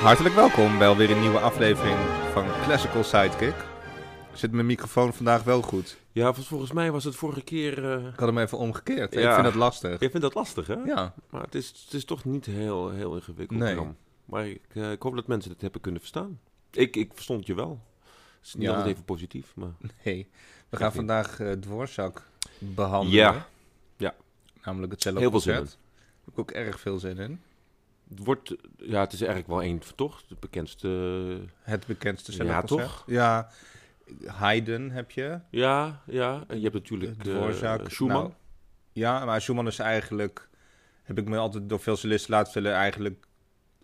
Hartelijk welkom bij alweer een nieuwe aflevering van Classical Sidekick. Zit mijn microfoon vandaag wel goed? Ja, want volgens mij was het vorige keer... eh, Ik had hem even omgekeerd. Ik Ja. vind dat lastig. Je vindt dat lastig, hè? Ja, Maar het is, het is toch niet heel, heel ingewikkeld. Nee. Bram. Maar ik, eh, ik hoop dat mensen het hebben kunnen verstaan. Ik, ik verstond je wel. Het is niet Ja. altijd even positief, maar... hey. We gaan niet. vandaag eh doorzak behandelen. Ja. Ja. Namelijk het cello Heel veel zin concert. Daar heb ik ook erg veel zin in. Het wordt... Ja, het is eigenlijk wel één, toch? Het bekendste... Het bekendste cello Ja, concert. toch? Ja, Haydn heb je. Ja, ja. En je hebt natuurlijk eh, Dvorak, Schumann. nou, ja, maar Schumann is eigenlijk, heb ik me altijd door veel solisten laten vertellen, eigenlijk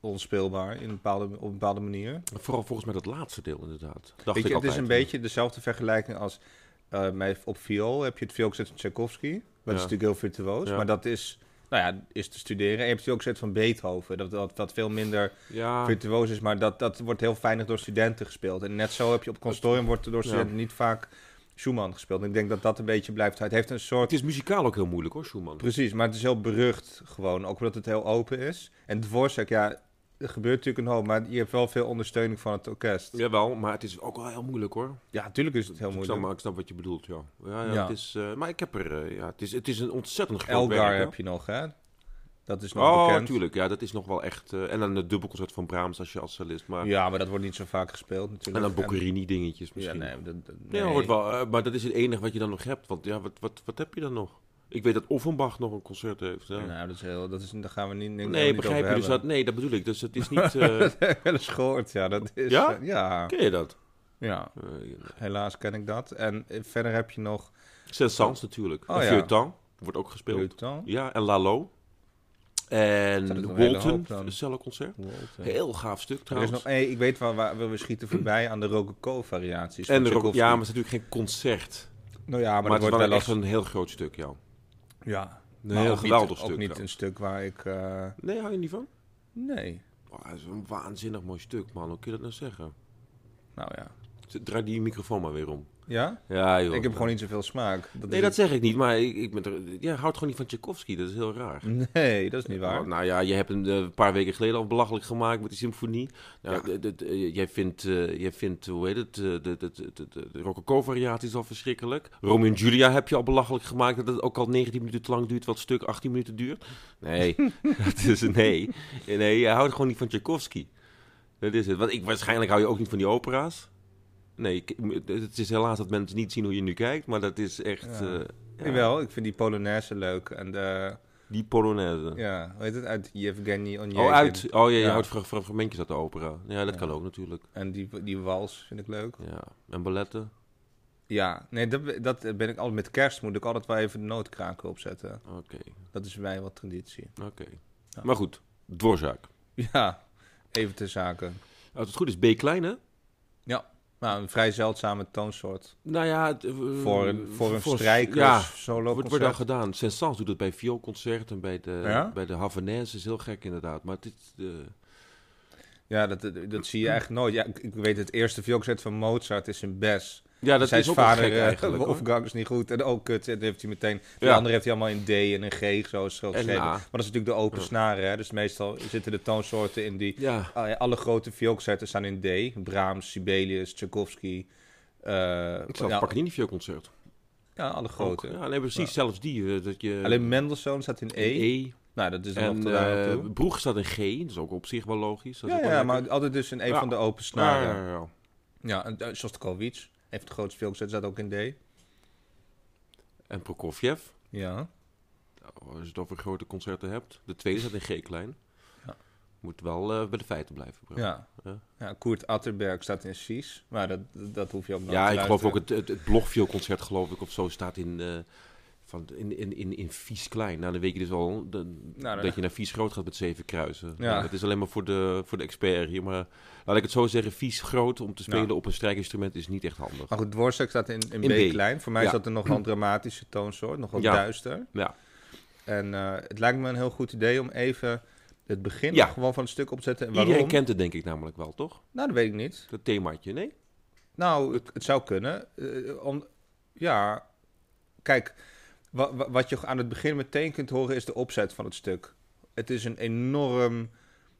onspeelbaar in een bepaalde, op een bepaalde manier. Vooral volgens mij dat laatste deel, inderdaad. Dacht Weet ik je, het is altijd. een beetje dezelfde vergelijking als eh, mij op viool heb je het vioolconcert van Tchaikovsky. Dat is Ja. natuurlijk heel virtuoos, Ja. maar dat is, nou ja, is te studeren. En je hebt het vioolconcert van Beethoven, dat, dat, dat veel minder Ja, virtuoos is, maar dat, dat wordt heel weinig door studenten gespeeld. En net zo heb je op consortium wordt er door Ja. studenten niet vaak Schumann gespeeld. En ik denk dat dat een beetje blijft. Het heeft een soort het is muzikaal ook heel moeilijk, hoor, Schumann. Precies, maar het is heel berucht gewoon, ook omdat het heel open is. En Dvorak, ja, er gebeurt natuurlijk een hoop, maar je hebt wel veel ondersteuning van het orkest. Ja, Jawel, maar het is ook wel heel moeilijk, hoor. natuurlijk is het heel Ik snap, moeilijk. maar ik snap wat je bedoelt, ja. ja, ja, Ja. Het is, eh, maar ik heb er... eh, ja, het, is, het is een ontzettend groot werk, Elgar hoor. heb je nog, hè? Dat is nog Oh, bekend. natuurlijk. Ja, dat is nog wel echt... eh, en dan het dubbelconcert van Brahms als je als cellist. Maar, Ja, maar dat wordt niet zo vaak gespeeld natuurlijk. en dan Boccherini-dingetjes Ja, misschien. nee, nee, dat, dat- dat nee. hoort wel, eh, maar dat is het enige wat je dan nog hebt. Want ja, wat, wat, wat heb je dan nog? Ik weet dat Offenbach nog een concert heeft. hè. Nou, dat is heel, dat is, daar gaan we niet, denk ik, nee, niet begrijp je? over Dus dat, hebben. nee, dat bedoel ik. Dus het is niet... eh, dat... heb ik wel eens gehoord, ja. Dat is, Ja? eh, ja, ken je dat? ja. Eh Helaas ken ik dat. En eh, verder heb je nog... Saint-Saëns natuurlijk. Oh, en ja. Feuilleton wordt ook gespeeld. Luton. Ja, en Lalo. Dat is een En hele hoop Walton, dan. een celloconcert. Walton. Heel gaaf stuk Er is trouwens. nog, hey, ik weet wel waar we we schieten voorbij aan de rococo-variaties. van en er ook, Tchaikovsky. ja, maar het is natuurlijk geen concert. nou ja, maar, Maar, dat het is wordt wel wel echt als... een heel groot stuk, ja. Ja, Een maar heel ook niet- geweldig Ook stuk, niet ja. een stuk waar ik... eh, Nee, hou je niet van? nee. Oh, dat is een waanzinnig mooi stuk, man. Hoe kun je dat nou zeggen? Nou ja. Z- Draai die microfoon maar weer om. Ja? Ja, joh. Ik heb gewoon niet zoveel smaak. Dat Nee, is dat zeg ik niet, maar ik, ik ben er... Jij houdt gewoon niet van Tchaikovsky, dat is heel raar. het. Nee, dat is niet waar. Oh, nou ja, je hebt hem eh, een paar weken geleden al belachelijk gemaakt met die symfonie. Nou, Ja. d- d- eh, jij, vindt, eh, jij vindt, hoe heet het, eh, de, de, de, de, de- de rococo-variaties al verschrikkelijk. Romeo en Julia heb je al belachelijk gemaakt dat het ook al 19 minuten te lang duurt, wat stuk 18 minuten duurt. Nee, dat is, nee. nee, je houdt gewoon niet van Tchaikovsky. Dat is het. Want ik, waarschijnlijk hou je ook niet van die opera's. Nee, ik- het is helaas dat mensen niet zien hoe je nu kijkt, maar dat is echt... Ja. eh, ja, Jawel, ik vind die Polonaise leuk. En de... Die Polonaise. Ja, hoe heet het? Uit Yevgeny Onegin. Oh, uit. Oh ja, je Ja. houdt fra- fra- fragmentjes uit de opera. Ja, dat Ja. kan ook natuurlijk. En die, die wals vind ik leuk. Ja. En balletten. Ja, nee, dat, dat ben ik altijd... Met kerst moet ik altijd wel even de noodkraker opzetten. Oké, Dat is bij mij wel traditie. oké. Ja. Maar goed, doorzaak. Ja, even ter zake. Als het goed is, B klein, hè? Nou, een vrij zeldzame toonsoort. Nou ja... het, eh, voor een, voor een strijkers Ja, solo wordt, wordt dan gedaan. Saint-Saëns doet het bij vioolconcert en bij de, Ja? bij de Havanaise. is heel gek inderdaad. Maar dit... eh, Ja, dat, dat, dat zie je eigenlijk nooit. Ja, ik, ik weet het eerste vioolconcert van Mozart is in Bes. ja, dat Zijn is ook wel vader gek eh, eigenlijk. hoor. Wolfgang is niet goed en ook kut. En dan heeft hij meteen. De Ja. andere heeft hij allemaal in D en een G zo is het En geschreven. A. Maar dat is natuurlijk de open Ja. snaren. Hè? Dus meestal zitten de toonsoorten in die. Ja, Ah, ja, Alle grote vioolconcerten staan in D. Brahms, Sibelius, Tchaikovsky. eh, ik zal ja, het Paganini vioolconcert. ja, alle Ook. eh, grote. Ja, nee, precies. Ja. Zelfs die. eh, dat je, Alleen Mendelssohn staat in E. E. Nou, dat is dan nog En te laag eh, toe. Broeg staat in G. Dat is ook op zich wel logisch. Dat is Ja, ook wel ja lekker. maar altijd dus in een Ja. van de open Ja, snaren. ja, ja. Ja, en uh, Shostakovich heeft het grootste filmset, zat ook in D. En Prokofjev, nou, Ja. als je het over grote concerten hebt. De tweede staat in G-klein. Ja. Moet wel eh, bij de feiten blijven. Bram. Ja. Ja. ja. Koert Atterberg staat in Cies, maar dat, dat hoef je ook nog Ja, te ik geloof luisteren. ook het, het, het Blokvioolconcert, geloof ik, of zo, staat in, eh, van, in, in, in, in vies klein. Nou, dan weet je dus al dat- nou. dat je naar vies groot gaat met zeven kruisen. Ja. Nou, dat is alleen maar voor de, voor de expert hier. Maar laat ik het zo zeggen, vies groot om te spelen Ja. op een strijkinstrument is niet echt handig. Maar goed, Dvorak staat in, in, In B. B-klein. Voor mij is Ja. dat een nog wel een dramatische toonsoort, nog wel Ja. duister. Ja. En eh, het lijkt me een heel goed idee om even het begin Ja. gewoon van het stuk op te zetten. En waarom? Iedereen kent het denk ik namelijk wel, toch? Nou, dat weet ik niet. Dat themaatje, nee? Nou, het, het zou kunnen. Eh, om, ja, kijk, wa- wa- wat je aan het begin meteen kunt horen is de opzet van het stuk. Het is een enorm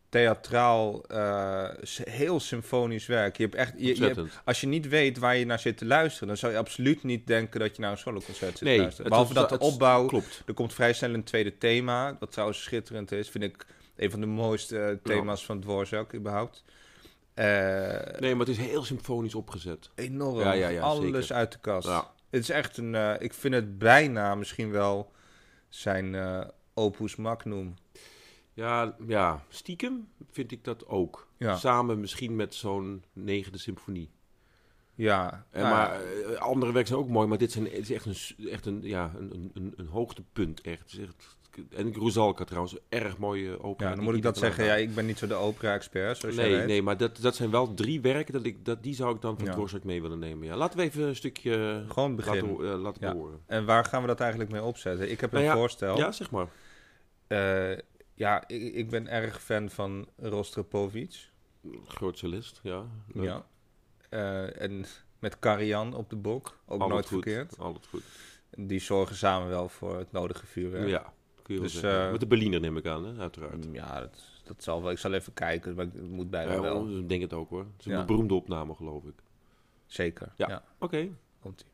theatraal, eh, s- heel symfonisch werk. Je hebt echt, je- je, hebt- Ontzettend. als je niet weet waar je naar zit te luisteren, dan zou je absoluut niet denken dat je naar een soloconcert zit Nee, te luisteren. het Behalve was- dat de het- opbouw, Klopt. er komt vrij snel een tweede thema, wat trouwens schitterend is. Vind ik een van de mooiste eh, thema's van Dvorak überhaupt. Eh, Nee, maar het is heel symfonisch opgezet. enorm. Ja, ja, ja, Alles zeker. uit de kast. Ja. Het is echt een. eh, ik vind het bijna misschien wel zijn eh, opus magnum. Ja, ja, stiekem vind ik dat ook. Ja, Samen misschien met zo'n negende symfonie. ja. En nou, maar eh, andere werken zijn ook mooi, maar dit zijn, het is echt een, s- echt een, ja, een, een- een, een hoogtepunt. Echt. Het is echt- en Grusalka trouwens, erg mooie opera. ja, dan die moet ik dat iedereen zeggen. Ja, aanraadt. ik ben niet zo de opera-expert, zoals jij Nee, weet. nee, maar dat, dat zijn wel drie werken, dat ik, dat, die zou ik dan van Ja. Dvorak mee willen nemen. Ja. Laten we even een stukje Gewoon beginnen. laten, ho- eh, laten Ja. horen. En waar gaan we dat eigenlijk mee opzetten? Ik heb Nou een ja, voorstel. Ja, zeg maar. Eh, ja, ik, ik ben erg fan van Rostropovich. Groot solist, ja. Ja. Leuk. Eh, en met Karian op de bok. Ook Altijd nooit goed. verkeerd. Altijd goed. Die zorgen samen wel voor het nodige vuurwerk. Ja, kun je wel Dus, zeggen. eh, Met de Berliner neem ik aan, hè? uiteraard. Ja, dat, dat zal wel. Ik zal even kijken, maar het moet bijna Ja, wel. Ik denk het ook hoor. Het is een Ja. beroemde opname, geloof ik. Zeker. Ja. Ja. Oké. komt ie.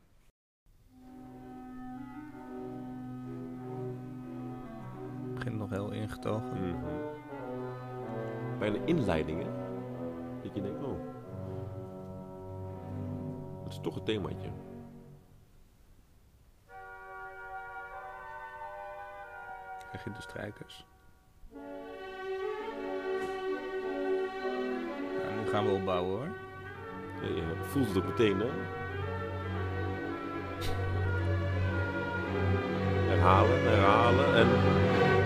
Begint nog heel ingetogen. Bij een Mhm. inleiding, hè? Dat je denkt, oh. Dat is toch een themaatje. Krijg je de strijkers. Ja, nu gaan we opbouwen hoor. Ja, je voelt het ook meteen, hè? Herhalen, herhalen en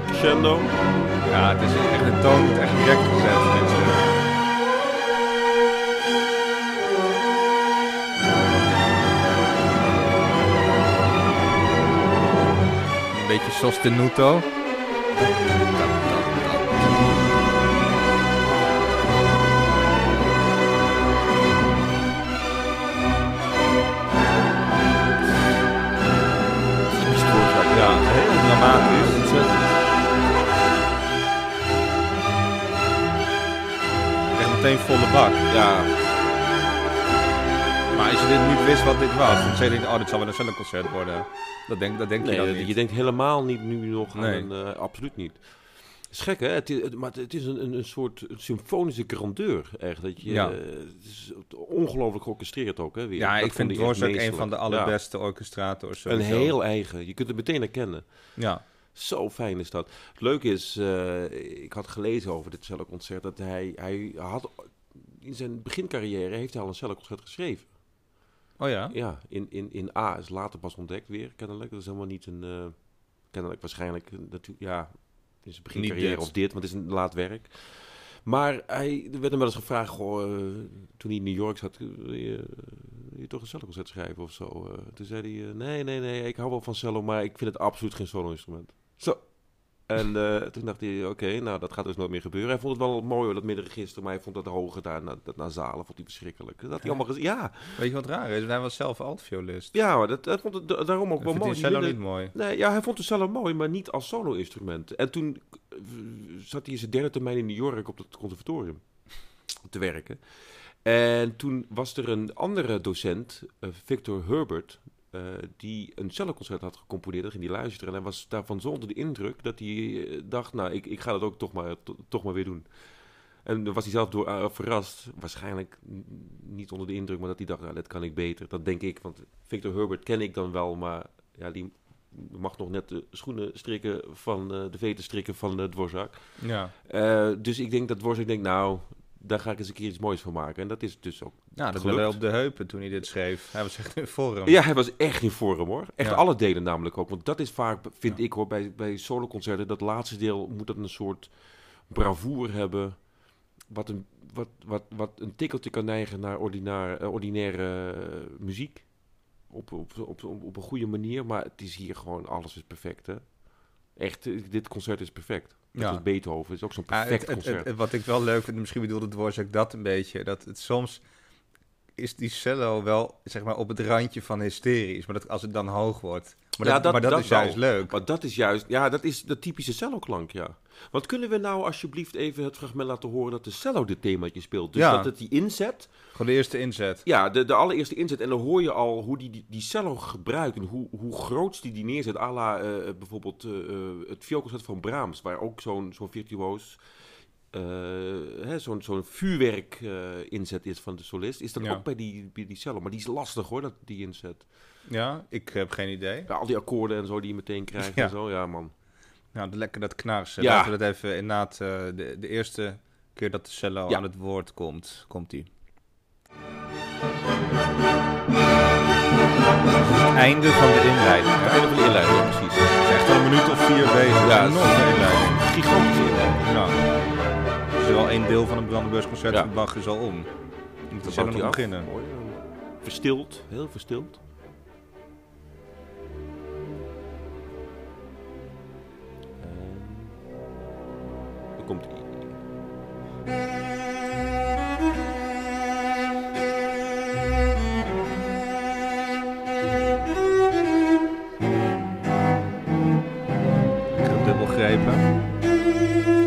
crescendo. Ja, het is echt een toon, moet echt direct gezet mensen. Een beetje sostenuto. Typisch Dvorak. Ja, heel dramatisch. Ontzettend. Echt meteen volle bak. Ja, Maar als je dit niet wist wat dit was, dan zei je, oh, dit zal wel een cellenconcert worden. Dat denk, dat denk Nee, je dan dat- niet. je denkt helemaal niet nu nog aan Nee. een... eh, absoluut niet. Het is gek, hè? Het is, het- maar het is een, een, een soort symfonische grandeur, echt. Dat je, Ja. eh, het is ongelooflijk georchestreerd ook, hè? Weer. ja, Dat ik vind vond echt Dvorak een meesterlijk. van de Ja. allerbeste orchestrators. Een sowieso. heel eigen. Je kunt het meteen herkennen. Ja, Zo fijn is dat. Het leuke is, eh, ik had gelezen over dit celloconcert... dat hij, hij had... In zijn begincarrière heeft hij al een celloconcert geschreven. oh ja. Ja, in, in, in A is later pas ontdekt weer, kennelijk. Dat is helemaal niet een... eh, kennelijk waarschijnlijk, eh, natu- ja, in zijn begin Niet carrière dit. of dit, want het is een laat werk. Maar hij er werd hem wel eens gevraagd, goh, eh, toen hij in New York zat, eh, wil je, wil je toch een celloconcert schrijven of zo? Eh, toen zei hij, eh, nee, nee, nee, ik hou wel van cello, maar ik vind het absoluut geen solo-instrument. Zo. En eh, toen dacht hij, oké, nou, dat gaat dus nooit meer gebeuren. Hij vond het wel mooi, hoor, dat middenregister, maar hij vond dat hoge daar, na- dat nazale, vond hij verschrikkelijk. Dat had hij allemaal gezien, ja. Weet je wat raar is? Hij was zelf altviolist. Ja, maar dat, dat vond het da- daarom ook Ik wel vind mooi. die Die cello wilde- niet mooi. Nee, ja, hij vond de cello mooi, maar niet als solo-instrument. En toen eh, zat hij in zijn derde termijn in New York op het conservatorium te werken. En toen was er een andere docent, eh, Victor Herbert, eh, die een celloconcert had gecomponeerd. Dat ging hij luisteren en hij was daarvan zo onder de indruk dat hij eh, dacht, nou, ik, ik ga dat ook toch maar, to- toch maar weer doen. En dan was hij zelf door eh, verrast. Waarschijnlijk n- niet onder de indruk, maar dat hij dacht, nou, dat kan ik beter. Dat denk ik, want Victor Herbert ken ik dan wel, maar ja, die mag nog net de schoenen strikken van eh, de veten strikken van de Dvorak. Ja, Eh, dus ik denk dat Dvorak denkt, nou, daar ga ik eens een keer iets moois van maken. En dat is het dus ook. ja dat Gelukt. wilde hij op de heupen toen hij dit schreef. Hij was echt in vorm. Ja, hij was echt in vorm hoor. Echt Ja. alle delen namelijk ook. Want dat is vaak, vind Ja. ik hoor, bij, bij soloconcerten, dat laatste deel moet dat een soort bravoer hebben. Wat een, wat, wat, wat een tikkeltje kan neigen naar ordinair, eh, ordinaire eh, muziek. Op, op, op, op, op een goede manier. Maar het is hier gewoon, alles is perfect hè. Echt, eh, dit concert is perfect. Dat Ja. is Beethoven. Het is ook zo'n Ja, perfect het- het- concert. het- wat ik wel leuk vind, misschien bedoelde Dvorak dat een beetje, dat het soms is die cello wel zeg maar op het randje van hysterisch, maar dat als het dan hoog wordt. Maar Ja, dat, dat- maar dat, dat is juist wel. leuk. Maar dat is juist, ja, dat is de typische celloklank, ja. Want kunnen we nou alsjeblieft even het fragment laten horen dat de cello dit themaatje speelt? Dus Ja. dat het die inzet, Gewoon de eerste inzet. ja, de, de allereerste inzet. En dan hoor je al hoe die, die, die cello gebruikt en hoe, hoe groot die die neerzet. À la eh, bijvoorbeeld eh, eh, het vioolconcert van Brahms, waar ook zo'n zo'n virtuoos... eh, hè, zo'n zo'n vuurwerk eh, inzet is van de solist, is dat Ja. ook bij die, bij die cello. Maar die is lastig hoor, dat, die inzet. Ja, ik heb geen idee. Ja, al die akkoorden en zo die je meteen krijgt Ja. en zo, ja man. Nou, dat- lekker dat knarsen. Ja. Laten we dat even inderdaad... eh, de, de eerste keer dat de cello Ja. aan het woord komt, komt die. Einde van de inleiding. hè. Het einde van de inleiding, ja, precies. Het is echt al een minuut of vier bezig. Ja, nog een inleiding. Gigantisch inleiding. Nou, dus wel één deel van een Brandenburgsconcert Ja. van Bach is al om. Moet de Dan cello bouwt nog hij af. beginnen. Mooi, dan. Verstild, heel verstild. En- Er komt i- Ik heb dubbelgrepen.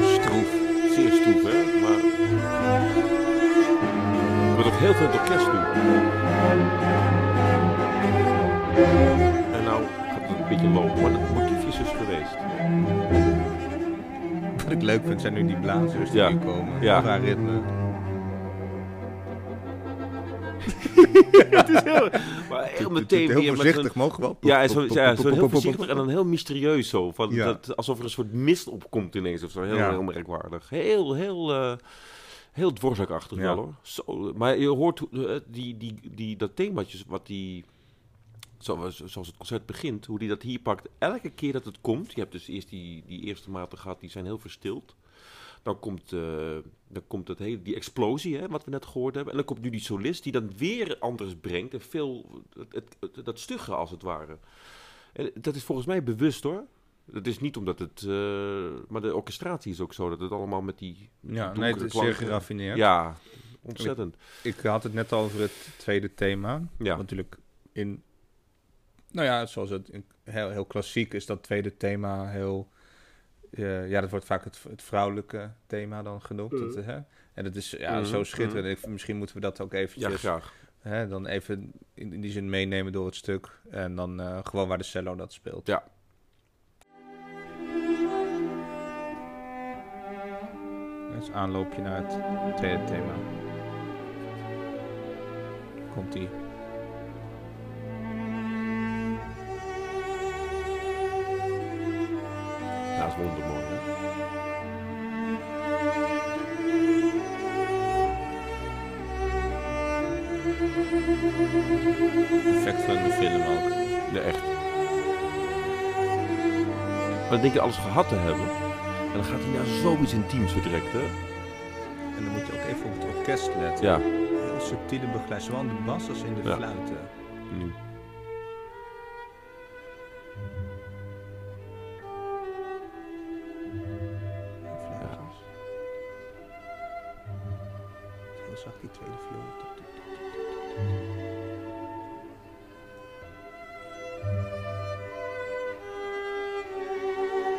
Stroef. zeer stroef, hè? Maar... Er wordt ook heel veel in het orkest nu. En nou gaat het een beetje lopen, maar het motief is dus geweest. Wat ik leuk vind zijn nu die blazers die Ja. hier komen. Ja. Raar ritme. Maar heel Het meteen heel weer met een voorzichtig mogen wel. Ja, en zo, ja, zo heel Pop, pop, pop, pop, pop, pop, pop. voorzichtig en dan heel mysterieus zo. Van, Ja. dat, alsof er een soort mist opkomt ineens of zo. Heel, Ja. heel merkwaardig. Heel, heel, eh heel dworsakachtig Ja. wel hoor. Zo, maar je hoort hoe- eh, die, die, die, dat themaatje, wat die, zo- zoals het concert begint, hoe die dat hier pakt. Elke keer dat het komt, je hebt dus eerst die, die eerste maten gehad, die zijn heel verstild. Dan komt, eh, dan komt dat hele, die explosie, hè, wat we net gehoord hebben. En dan komt nu die solist, die dan weer anders brengt. En veel, het, het, het- dat stugge als het ware. En dat is volgens mij bewust hoor. Dat is niet omdat het... eh, maar de orchestratie is ook zo, dat het allemaal met die... met Ja, die nee, het donkere is zeer klanken- geraffineerd. Ja, ontzettend. Ik had het net al over het tweede thema. Ja. Wat natuurlijk in... Nou ja, zoals het in- heel, heel klassiek is dat tweede thema heel... eh, ja, dat wordt vaak het, het vrouwelijke thema dan genoemd. Dat, hè? En dat is ja, Mhm, zo schitterend. Ik- Misschien moeten we dat ook Ja, eventjes graag. hè, dan even in, in die zin meenemen door het stuk. En dan eh, gewoon waar de cello dat speelt. Ja. Dat is aanloopje naar het tweede thema. Komt ie. Ja, dat is wondermooi. hè. Effect van de film ook. Ja, echt. Maar dan denk je alles gehad te hebben. En dan gaat hij naar zoiets intiems direct, hè? En dan moet je ook even op het orkest letten. Ja. Heel subtiele begeleiding, zowel in de bas als in de Ja. fluiten. Nu. Fluitjes. Heel zacht die tweede viool. Tuk, tuk, tuk, tuk, tuk, tuk.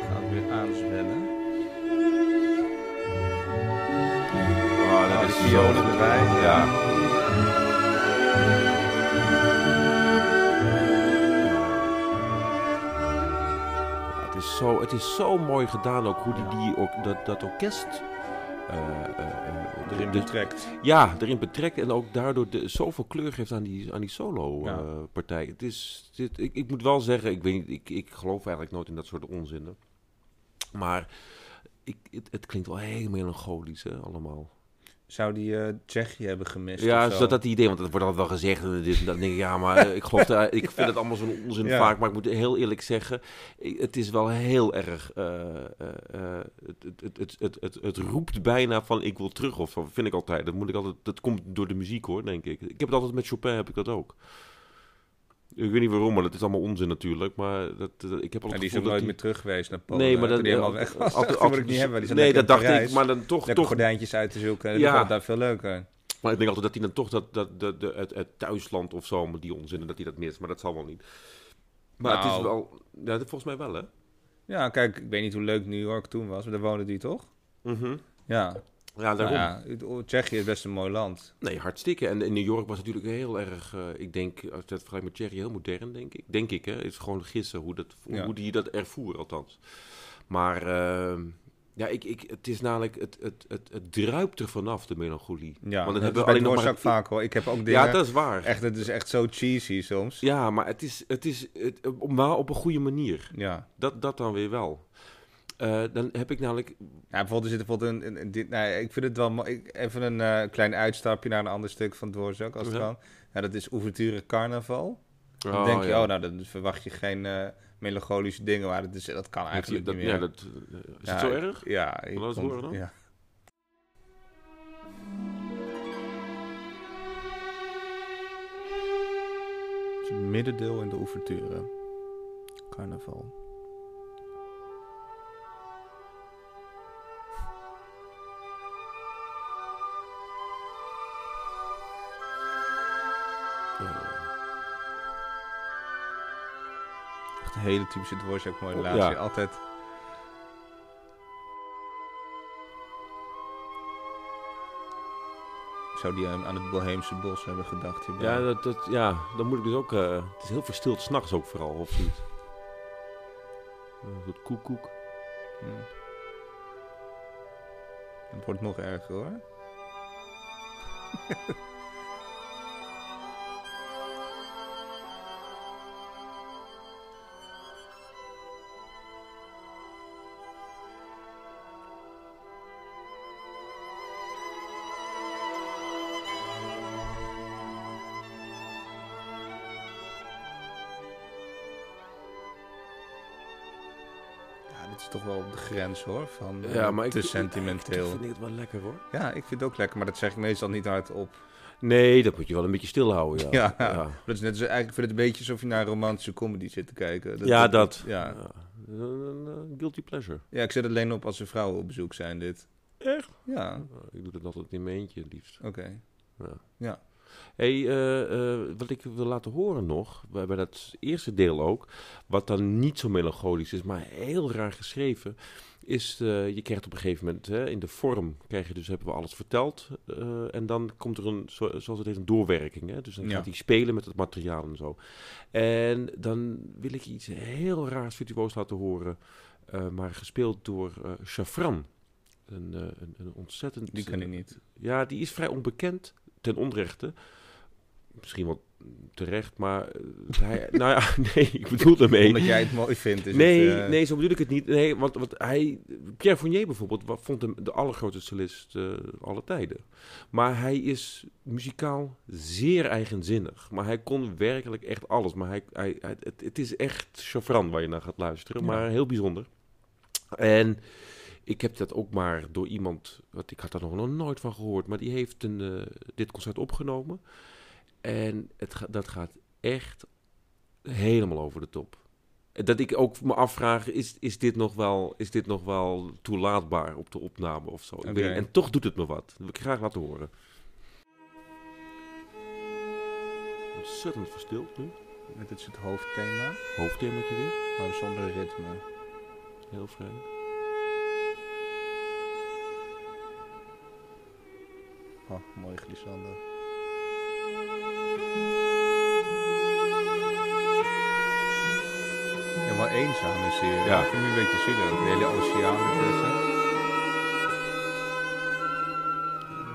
Gaat weer aanzwellen. Ah, Oh, die violen erbij. Ja. Ja, Het is, zo, het is zo mooi gedaan ook hoe die, die ook, dat, dat orkest eh, eh, eh, Erin de- betrekt. ja, erin betrekt en ook daardoor de, zoveel kleur geeft aan die, aan die Ja. solo-partij. het is, dit, ik, ik moet wel zeggen, ik, weet, niet, ik, ik geloof eigenlijk nooit in dat soort onzinnen. Maar ik, het, het klinkt wel heel melancholisch, hè, allemaal. Zou die eh Tsjechië hebben gemist? Ja, of zo? is dat dat idee, want dat wordt altijd wel gezegd. En dit, en dat denk ik, ja, maar eh, ik geloof daar, ik vind het allemaal zo'n onzin Ja. vaak. Maar ik moet heel eerlijk zeggen, ik- het is wel heel erg. eh, eh, eh, het, het, het, het, het, het, het roept bijna van ik wil terug of zo. Vind ik altijd. Dat moet ik altijd. Dat komt door de muziek hoor, denk ik. Ik heb het altijd met Chopin, heb ik dat ook. Ik weet niet waarom, maar dat is allemaal onzin natuurlijk. Maar dat, dat- ik En heb altijd het die is gevoel ook nooit dat meer terug geweest naar Polen. Nee, maar Toen dan... die helemaal eh, weg was. altijd- dat moet altijd- ik niet hebben. Die zijn nee, lekker dat in dacht ik. Parijs. Maar dan toch, Lekker toch gordijntjes uit te zoeken. Ja. Ja. Dat vond ik daar veel leuker. Maar ik denk altijd dat hij dan toch dat, dat, dat, dat- het, het thuisland of zo, met die onzin, dat hij dat mist. Maar dat zal wel niet. Maar het is Nou. wel, ja, dat volgens mij wel hè. Ja, kijk, ik weet niet hoe leuk New York toen was, maar daar woonde die toch? Mhm. Ja. Ja, Nou daarom. ja, het- Tsjechië is best een mooi land. Nee, hartstikke. En in New York was natuurlijk heel erg, eh, ik denk, als je dat vergelijkt met Thierry, heel modern, denk ik. Denk ik, hè. Het is gewoon gissen hoe, dat, hoe, Ja. hoe die dat ervoer, althans. Maar ehm, ja, ik, ik, het is namelijk, het, het, het, het druipt er vanaf, de melancholie. Ja, dat Want dan hebben hebben we we alleen nog maar... Dvorak vaak hoor. Ik heb ook dingen... ja, dat is waar. echt, het is echt zo cheesy soms. Ja. Ja, maar het is, het is het, op- maar op een goede manier. ja. Dat, dat dan weer wel. Eh, dan heb ik namelijk... bijvoorbeeld er zit er bijvoorbeeld een... een, een- dit, nou ja, ik vind het wel mooi. Ik- Even een eh, klein uitstapje naar een ander stuk van Dvorak, als het Ja. kan. Ja, dat is Ouverture Carnaval. Dan Oh, denk je, ja. oh, nou, dan verwacht je geen eh, melancholische dingen. Maar dat, is, dat kan Dat- eigenlijk dat- niet meer. Ja, dat, eh, is Ja, het zo ik- erg? Ja. ik Laat het vond- horen dan. Ja. Het is het middendeel in de ouverture. Carnaval. Oh. Echt een hele typische Dvorak modulatie. Oh, Ja. Altijd. Zou die aan aan het Boheemse bos hebben gedacht hierbij? Ja, dat, dat, ja, dan moet ik dus ook... eh, het is heel verstild, s'nachts ook vooral, of niet? Een soort koekoek. Ja. Het wordt nog erger hoor. Ja, dit is toch wel op de grens hoor. Van eh, Ja, maar ik- te ik- sentimenteel. Toch vind ik het wel lekker, hoor. Ja, ik vind het ook lekker, maar dat zeg ik meestal niet hardop. Nee, dat moet je wel een beetje stilhouden, ja. Ja. Dat is net als, eigenlijk vind ik het een beetje alsof je naar een romantische comedy zit te kijken. Ja, dat. Ja. Een, een, een guilty pleasure. ja, ik zet het alleen op als er vrouwen op bezoek zijn, dit. Echt? Ja, Ik doe dat altijd in mijn eentje, het liefst. oké. Hey, eh, eh, wat ik wil laten horen nog, bij, bij dat eerste deel ook, wat dan niet zo melancholisch is, maar heel raar geschreven, is eh, je krijgt op een gegeven moment hè, in de vorm, krijg je dus, hebben we alles verteld, eh, en dan komt er een, zo- zoals het heet, een doorwerking. Hè? Dus dan Ja. gaat hij spelen met het materiaal en zo. En dan wil ik iets heel raars virtuoos laten horen, eh, maar gespeeld door eh Chafran. Een, eh, een, een ontzettend... Die ken ik eh, niet. ja, die is vrij onbekend ten onrechte. Misschien wel terecht, maar eh, hij, nou ja, nee, ik bedoel daarmee. Omdat jij het mooi vindt. Is nee, het, eh, nee, zo bedoel ik het niet. Nee, want, want hij, Pierre Fournier bijvoorbeeld, wa- vond hem de allergrootste solist eh alle tijden. Maar hij is muzikaal zeer eigenzinnig. Maar hij kon werkelijk echt alles. Maar hij, hij, hij- het, het is echt Chafran waar je naar gaat luisteren, Ja. maar heel bijzonder. En ik heb dat ook maar door iemand, want ik had daar nog nooit van gehoord, maar die heeft een, eh, dit concert opgenomen. En het ga- dat gaat echt helemaal over de top. Dat ik ook me afvraag, is, is, dit, nog wel, is dit nog wel toelaatbaar op de opname of zo? Ik Oké. weet niet. en toch doet het me wat. Dat wil ik graag laten horen. Ontzettend verstild nu. Dit is het hoofdthema, Hoofdthemaatje weer. maar zonder ritme. Heel vrij. Oh, mooi glissando. Ja, wel eenzaam is hier. Ja. Ik vind het nu een beetje zielig. De hele oceaan ertussen.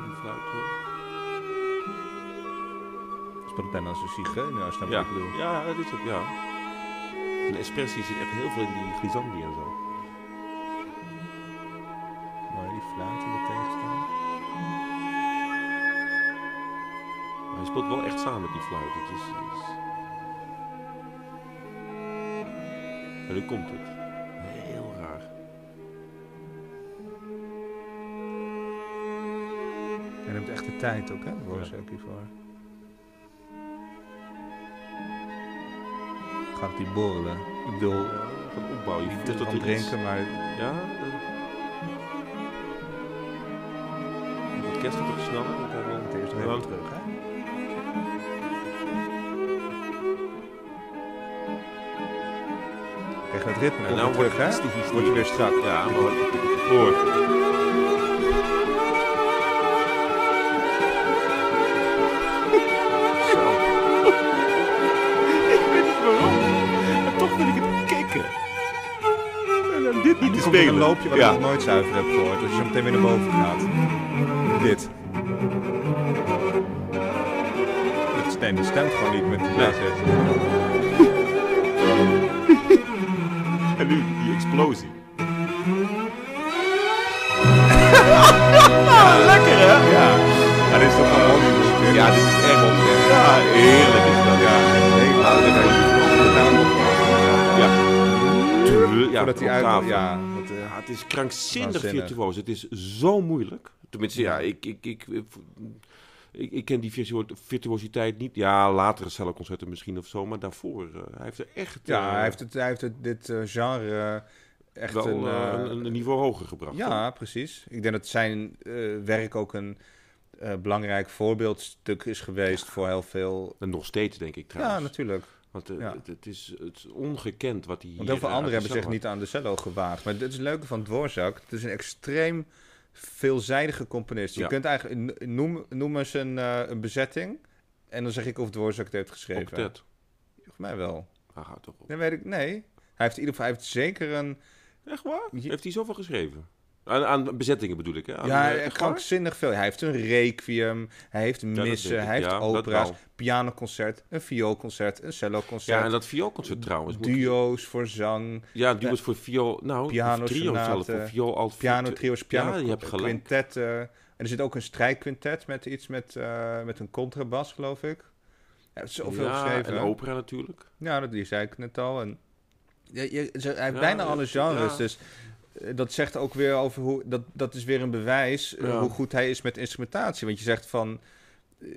Een fluit, hoor. Het speelt bijna als een zigeuner, als je dat Ja. wat ik bedoel. ja, dat is het, ja. Een expressie zit echt heel veel in die glissandi en zo. Mooi, die fluit die er tegen staan. Maar Hij speelt wel echt samen met die fluit. Het is, het is... En nu komt het. Heel raar. Hij neemt echt de tijd ook, hè? Daar worden ze ook hiervoor. Gaat die borrelen. Ik bedoel, Ja, van opbouw. Je niet voelt te dat van er iets- drinken, maar Ja. eh. Het orkest gaat ook sneller. want hij wil- het eerst nog Ja. even terug, hè? Krijg tegen het ritme. En En nou nou wordt terug, hè? het iets te Word je weer strak. Ja, maar hoor. Ik weet niet waarom, maar toch wil ik het kicken. Dit dit niet te komt weer spelen. een loopje wat ja. ik nog nooit zuiver heb gehoord. Als je zo meteen weer naar boven gaat. Dit. Het, nee, dat stemt gewoon niet met de basis. En nu die explosie. Lekker hè? Ja, Ja, dit is toch gewoon gewoon... Hollywood. Ja, dit is echt ontzettend. Ja, heerlijk is dat. Ja, nee, maar dat heb je daarom opgelost. Ja. Tuurlijk, ja, Voordat hij octaven. uit... Ja, wat, eh, Ja, het is krankzinnig Waanzinnig. virtuoos. Het is zo moeilijk. Tenminste, ja, ik, ik, ik, ik, ik ken die virtuo- virtuositeit niet. Ja, latere cellenconcerten misschien of zo, maar daarvoor. eh, hij heeft er echt ja, eh, hij heeft, het, hij heeft het, dit eh, genre eh, echt wel een... eh, eh, een, een niveau hoger gebracht. Ja, precies. Ik denk dat zijn eh, werk ook een eh, belangrijk voorbeeldstuk is geweest voor heel veel. En nog steeds, denk ik Ja, trouwens. natuurlijk. Want eh, ja. het, het is, het is ongekend wat hij hier... Want heel veel eh, anderen uit hebben zich zichzelf niet aan de cello gewaagd. Maar dit is het leuke van Dvorak. Het is een extreem veelzijdige componist. Je Ja. kunt eigenlijk noem, noem eens een, eh, een bezetting. En dan zeg ik of Dvorak het heeft had. geschreven. Octet. Volgens mij wel. Hij gaat toch op. Nee, weet ik. Nee. Hij heeft in ieder geval hij heeft zeker een. Echt waar? Je- Heeft hij zoveel geschreven? Aan, aan bezettingen bedoel ik, hè? Aan, ja, eh, eh, echt waar? krankzinnig veel. Hij heeft een requiem. Hij heeft dat missen. weet ik. hij heeft Ja, dat opera's. wel. pianoconcert, een vioolconcert, een Ja, en celloconcert, dat vioolconcert trouwens. moet ik- duo's voor zang, Ja, duos voor viool. Nou, Piano, trio zelf. sonate, Voor viool, alt, pianotrio's, piano Ja, je hebt gelijk. quintetten. En er zit ook een strijkquintet met iets met, eh, met een contrabas, geloof ik. Hij heeft zoveel ja, geschreven. en opera natuurlijk. Ja, dat die zei ik net al. En, ja, je- ze- hij heeft Ja, bijna ja, alle genres, ja. dus eh, dat zegt ook weer over hoe... Dat, dat is weer een bewijs eh, Ja. hoe goed hij is met instrumentatie. Want je zegt van... eh,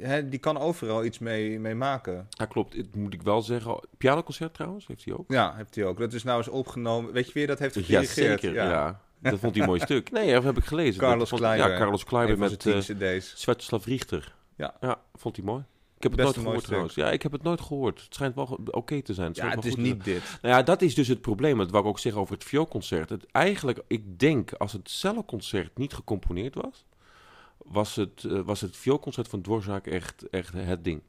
hè, die kan overal iets mee, mee maken. Ja, klopt. Het moet ik wel zeggen. Pianoconcert trouwens, heeft hij ook. Ja, heeft hij ook. Dat is nou eens opgenomen. Weet je weer, dat heeft Ja, gedirigeerd. zeker. Ja. Dat vond hij een mooi stuk. Nee, dat heb ik gelezen. Carlos Dat vond- Kleiber. Ja, Carlos Een Kleiber van zijn met tien eh cd's. Svetoslav Richter. Ja. Ja, vond hij mooi. Ik heb het Best nooit een mooi gehoord stuk. trouwens. Ja, ik heb het nooit gehoord. Het schijnt wel ge- oké te zijn. Het, Ja, schijnt het wel is goed te niet dit. Nou ja, dat is dus het probleem. Dat wou ik ook zeggen over het vioolconcert. Het, eigenlijk, ik denk, als het celloconcert niet gecomponeerd was, was het, eh, was het vioolconcert van Dvorak echt, echt het ding.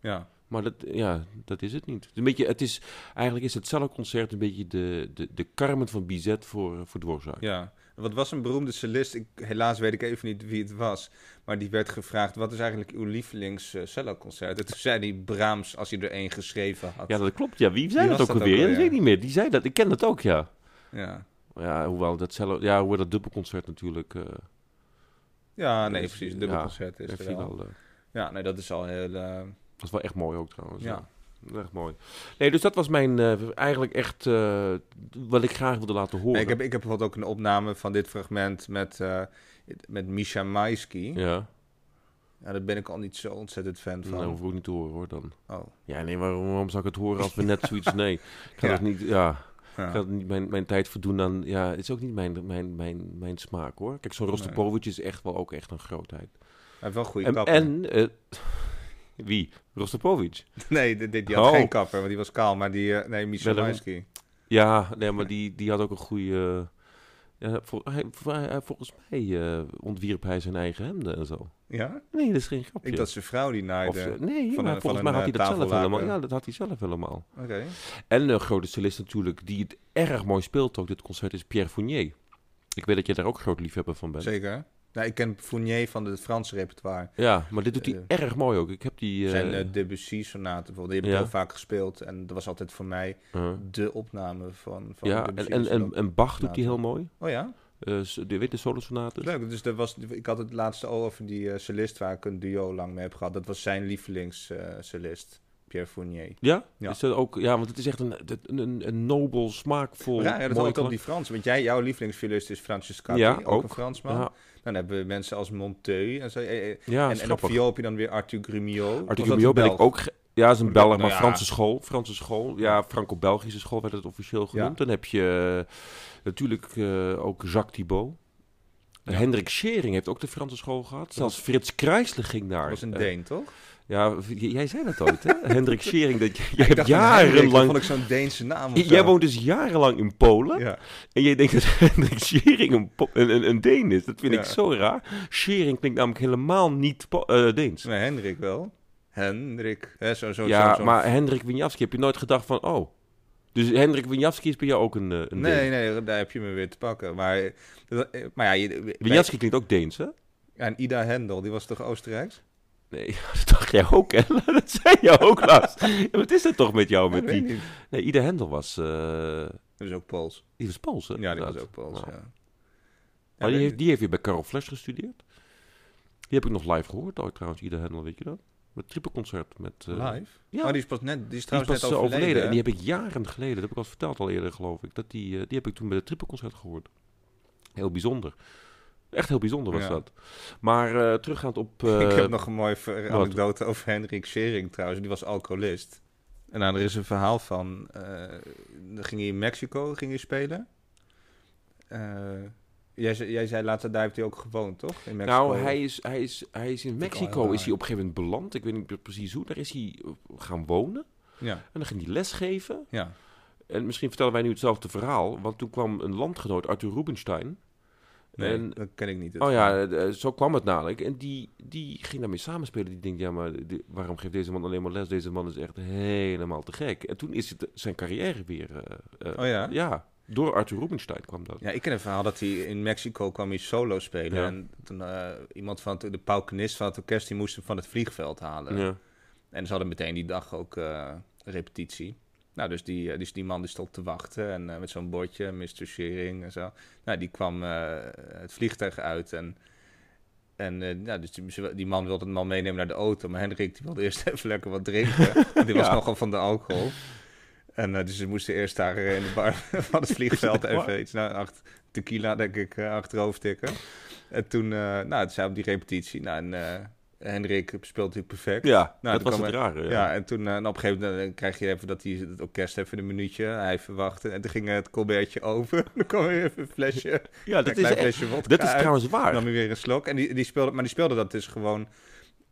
Ja. Maar dat, ja, dat is het niet. Het is Een beetje, het is, eigenlijk is het celloconcert een beetje de, de, de Carmen van Bizet voor, eh, voor Dvorak. ja. Wat was een beroemde cellist? Ik, helaas weet ik even niet wie het was. Maar die werd gevraagd, wat is eigenlijk uw lievelings eh, celloconcert? En toen zei hij Brahms, als hij er één geschreven had. Ja, Ja. dat klopt. Ja, wie zei Wie dat was ook dat ook alweer? Ja, alweer? dat weet ik niet meer. Die zei dat. Ik ken dat ook, ja. Ja, Ja, hoewel dat, cello, ja, hoewel dat dubbelconcert natuurlijk... eh nee, is- precies. Een ja, dubbelconcert is heeft er hij wel. wel, eh, Ja, nee, dat is al heel... eh, Dat is wel echt mooi ook trouwens. Ja. Ja. Echt mooi. Nee, dus dat was mijn eh, eigenlijk echt eh, wat ik graag wilde laten horen. Nee, ik, heb, ik heb bijvoorbeeld ook een opname van dit fragment met, eh met Misha Maisky. Ja. Ja, daar ben ik al niet zo ontzettend fan nou, van. hoef ik ook niet te horen hoor dan. Oh, Ja, nee, waarom, waarom zou ik het horen als we net zoiets... Nee, ik ga Ja. dat niet... Ja, ja. ik ga dat niet mijn, mijn tijd verdoen aan... Ja, het is ook niet mijn, mijn, mijn, mijn smaak hoor. Kijk, zo'n Rostopovic is echt wel ook echt een grootheid. Hij heeft wel een goede En, kapper. en eh, wie? Rostopovic? Nee, dit, dit- die had Oh. geen kapper, want die was kaal. Maar die, eh, nee, Michel Daarom- Lansky. Ja, nee, maar die, die had ook een goede... eh, vol- hij, hij- volgens mij eh, ontwierp hij zijn eigen hemden en zo. Ja? Nee, dat is geen grapje. Ik dacht zijn vrouw die Of, naaide. eh, nee, van maar een- van volgens een, mij had hij eh, dat zelf tafellaken. helemaal. Ja, dat had hij zelf helemaal. Oké. En een grote cellist natuurlijk, die het erg mooi speelt ook, dit concert, is Pierre Fournier. Ik weet dat jij daar ook groot liefhebber van bent. Zeker. Nou, ik ken Fournier van het Franse repertoire. Ja, maar dit doet hij erg mooi ook. Ik heb die... eh, eh. Zijn eh, Debussy-sonaten bijvoorbeeld. Die heb ik ja. heel vaak gespeeld. En dat was altijd voor mij eh, de opname van, van ja, en, Debussy. en, en, en Bach doet die Ja. heel mooi. Oh ja? Eh, s- de- weet je, de solosonaten. Leuk. Dus dat was, ik had het laatste al over die eh, cellist waar ik een duo lang mee heb gehad. Dat was zijn lievelingscellist, Pierre Fournier. Ja? Ja. Is dat ook, ja, want het is echt een, een, een, een nobel, smaakvol, Ja, ja, dat mooi altijd op klank. die Frans. Want jij, jouw lievelingsfilist is Francescatti, Ja, ook, een ook. Fransman. Ja, Dan hebben we mensen als Monteux en zo. Eh, eh, ja en, is en op grappig. viool heb je dan weer Arthur Grimmio. Arthur Guillaume ben ik ook... ge- Ja, is een Nou Belg, maar ja. Franse school. Franse school. Ja, Franco-Belgische school werd het officieel genoemd. Ja. Dan heb je eh, natuurlijk eh, ook Jacques Thibault. Ja. Hendrik Schering heeft ook de Franse school gehad. Zelfs Frits Kruisler ging daar. Dat was een Eh, Deen, toch? ja, v- j- jij zei dat ooit, hè? Hendrik Schering. Dat, j- jij Ik hebt dacht aan Hendrik, dat jarenlang... vond ik zo'n Deense naam. of J- zo. Jij woont dus jarenlang in Polen. Ja. En jij denkt dat Hendrik Schering een, po- een, een, een Deen is. Dat vind ik Ja. zo raar. Schering klinkt namelijk helemaal niet Po- eh, Deens. Nee, Hendrik wel. Hendrik. Hè, zo, zo, ja, zo, zo. maar Hendrik Winjawski, heb je nooit gedacht van, oh... Dus Hendrik Winjawski is bij jou ook een, eh, een Nee, Deen. nee, daar heb je me weer te pakken. Maar, eh, dat- eh, maar ja, je, bij- Winjawski klinkt ook Deens, hè? en Ida Hendel, die was toch Oostenrijks? Nee, dat dacht jij ook, hè? Dat zei jij ook laatst. Ja, wat is dat toch met jou? Ik Met weet die... niet. Nee, Ida Hendel was... eh, Dat is ook Pools. die was Pools, hè? Ja, die was Inderdaad. ook Pools, Nou. ja. Ja, weet Maar die, heeft, ik. die heeft weer bij Carol Flesch gestudeerd. Die heb ik nog live gehoord ooit trouwens, Ida Hendel, weet je dat? Met tripleconcert met... eh, Live? Ja, Oh, die die is pas net, die is is pas trouwens net eh, overleden. overleden. hè? En die heb ik jaren geleden, dat heb ik al verteld al eerder geloof ik, dat die, eh, die heb ik toen bij het tripleconcert gehoord. Heel bijzonder. Echt heel bijzonder was Ja. dat. Maar eh, teruggaand op... ik eh, heb nog een mooie ver- wat? anekdote over Hendrik Schering trouwens. Die was alcoholist. En nou, er is een verhaal van... eh, dan ging hij in Mexico ging hij spelen. Eh, jij, zei- jij zei later, daar heeft hij ook gewoond, toch? In Mexico. Nou, hij is, hij is, hij is in Vind ik al Mexico heel is hij op een gegeven moment beland. Ik weet niet meer precies hoe. Daar is hij eh, gaan wonen. Ja, En dan ging hij lesgeven. ja. En misschien vertellen wij nu hetzelfde verhaal. Want toen kwam een landgenoot, Arthur Rubinstein. Nee, En- dat ken ik niet. oh ja, eh, zo kwam het namelijk. En die, die ging daarmee samenspelen. Die denkt, ja, maar di- waarom geeft deze man alleen maar les? Deze man is echt helemaal te gek. En toen is het zijn carrière weer... eh, eh, Oh ja? Ja, door Arthur Rubinstein kwam dat. Ja, ik ken een verhaal dat hij in Mexico kwam hij solo spelen. Ja. En toen eh, iemand van het, de paukenist van het orkest, die moest hem van het vliegveld halen. Ja. En ze hadden meteen die dag ook eh, repetitie. Nou, dus die, eh, dus die man die stond te wachten en eh, met zo'n bordje, Mr. Shearing en zo. Nou, die kwam eh, het vliegtuig uit en, en eh, nou, dus die, ze- die man wilde hem al meenemen naar de auto. Maar Hendrik die wilde eerst even lekker wat drinken. want die was Ja. nogal van de alcohol. En eh, dus ze moesten eerst daar eh, in de bar van het vliegveld Is dat waar? even iets, nou, acht, tequila denk ik, eh, achterhoofd tikken. En toen, eh, nou, het zei op die repetitie. Nou, en eh, Hendrik speelt natuurlijk perfect. Ja, Nou, dat toen was kwam het rare. Ja, ja. en toen eh, en op een gegeven moment eh, krijg je even dat hij het orkest even een minuutje, eh, hij verwachtte. En toen ging eh, het colbertje over. Dan kwam weer even een flesje, Ja, een dat is, klein echt- flesje wodka dat is uit. trouwens waar. nam hij weer een slok. En die, die speelde, maar die speelde dat dus gewoon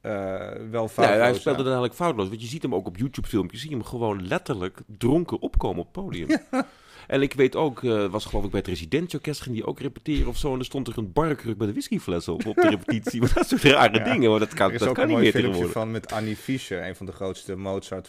eh, wel Ja, vaak. hij speelde dat eigenlijk foutloos. Want je ziet hem ook op YouTube-filmpjes. Zie je hem gewoon letterlijk dronken opkomen op het podium. En ik weet ook, eh, was geloof ik bij het Residentieorkest, ging die ook repeteren of zo. En er stond er een barkruk bij de whiskyfles op, op de repetitie. Want dat soort rare Ja. dingen, want dat kan, Er is dat ook een kan niet mooi meer filmpje tegenwoordig. van met Annie Fischer, een van de grootste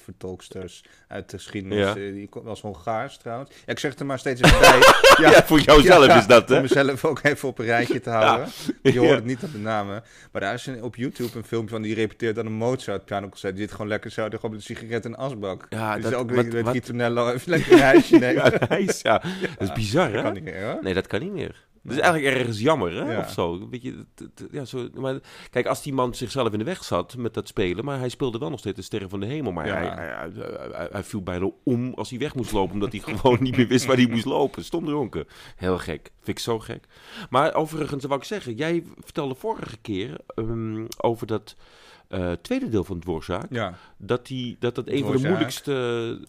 Mozart-vertolksters uit de geschiedenis. Ja. Eh, Die kon- was Hongaars trouwens. Ja, ik zeg het er maar steeds even bij. Ja, Ja, voor jouzelf Ja, is dat, hè? Om mezelf ook even op een rijtje te houden. Je hoort het niet op de namen. Maar daar is een, op YouTube een filmpje van die repeteert aan een Mozart pianoconcert. Die zit gewoon lekker zo, gewoon met een sigaret en asbak. Ja, dus dat- ook wat- met, met wat- Ritornello even lekker een reisje nemen. Ja, hij is, ja. Dat is bizar, dat hè? kan niet meer, hoor. Nee, dat kan niet meer. Dat is eigenlijk ergens jammer, hè? Ja. Of zo. Weet je, dat- dat- ja, zo maar, kijk, als die man zichzelf in de weg zat met dat spelen... maar hij speelde wel nog steeds de Sterren van de Hemel. Maar Ja. hij, hij, hij- hij- hij viel bijna om als hij weg moest lopen... omdat hij gewoon niet meer wist waar hij moest lopen. Stom dronken. Heel gek. Vind ik zo gek. Maar overigens, wat ik zeggen... jij vertelde vorige keer ehm, over dat eh, tweede deel van Dworszaak... Ja, dat die, dat, dat een van de Dvorak. moeilijkste... ja,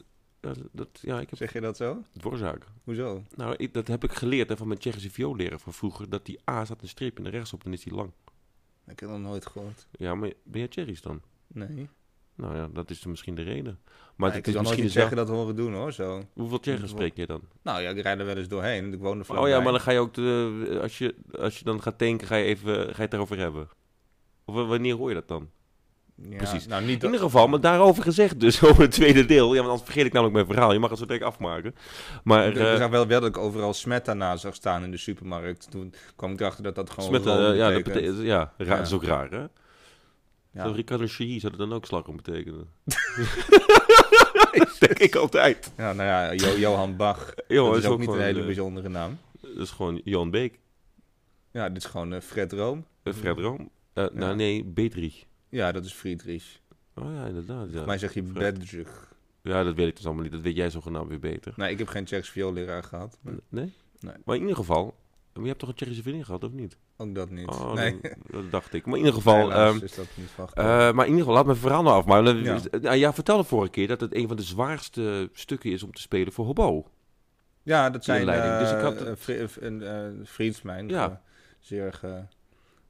dat, ja, ik heb zeg je dat zo? Dworszaak. Hoezo? Nou, ik- dat heb ik geleerd hè, van mijn Tsjechische viooleraar van vroeger. Dat die A staat een streep en de rechtsop, dan is die lang. Ik heb dat nog nooit gehoord. Ja, maar ben jij Tsjechisch dan? Nee. Nou ja, dat is dan misschien de reden. Maar Maar ik het kan nooit is misschien iets eens wel... zeggen dat horen doen, hoor, zo. Hoeveel Tsjechisch spreek je dan? Nou ja, ik rijd er wel eens doorheen. Ik woon er oh ja, vlakbij. maar dan ga je ook... De, als, je, als je dan gaat tanken, ga je, even, ga je het daarover hebben. Of w- wanneer hoor je dat dan? Ja, precies. Nou, niet In dat... ieder geval, maar daarover gezegd dus, over het tweede deel. Ja, want anders vergeet ik namelijk mijn verhaal. Je mag het zo direct afmaken. Maar... Ik ik eh zag wel, wel dat ik overal Smetta na zag staan in de supermarkt. Toen kwam ik erachter dat dat gewoon Smet, eh, room ja, dat betekent. betekent, ja, raar, Ja. dat is ook raar, hè? Ja. Zou Ricardo Chailly zou dat dan ook slagroom betekenen? denk ik altijd. Ja, nou ja, Jo- Johan Bach. Joh, dat is ook, niet een gewoon, hele eh, bijzondere naam. Dat is gewoon Johan Beek, Ja, dit is gewoon eh, Fred Room. eh, Fred Room. Eh, Ja. Nou nee, Bedrich. Ja, dat is Friedrich. Oh ja, inderdaad. Ja. Volgens mij zeg je Fred. Bedrich. ja, dat weet ik dus allemaal niet. Dat weet jij zogenaamd weer beter. Nee, ik heb geen Tsjechs viooleraar gehad. maar Nee? Nee. Maar in ieder geval... Maar je hebt toch een Tsjechische vriendin gehad, of niet? Ook dat niet. Oh, nee, dan- dat dacht ik. Maar in ieder geval... Helaas ehm, is dat niet van Eh, gekomen. maar in ieder geval, laat mijn verhaal nou af. Maar dan- Ja. nou, jij vertelde vorige keer dat het een van de zwaarste stukken is om te spelen voor hobo. Ja, dat zijn inleiding. Dus ik had eh, het- vri- een eh, vriend van mij. Ja. eh, zeer ge-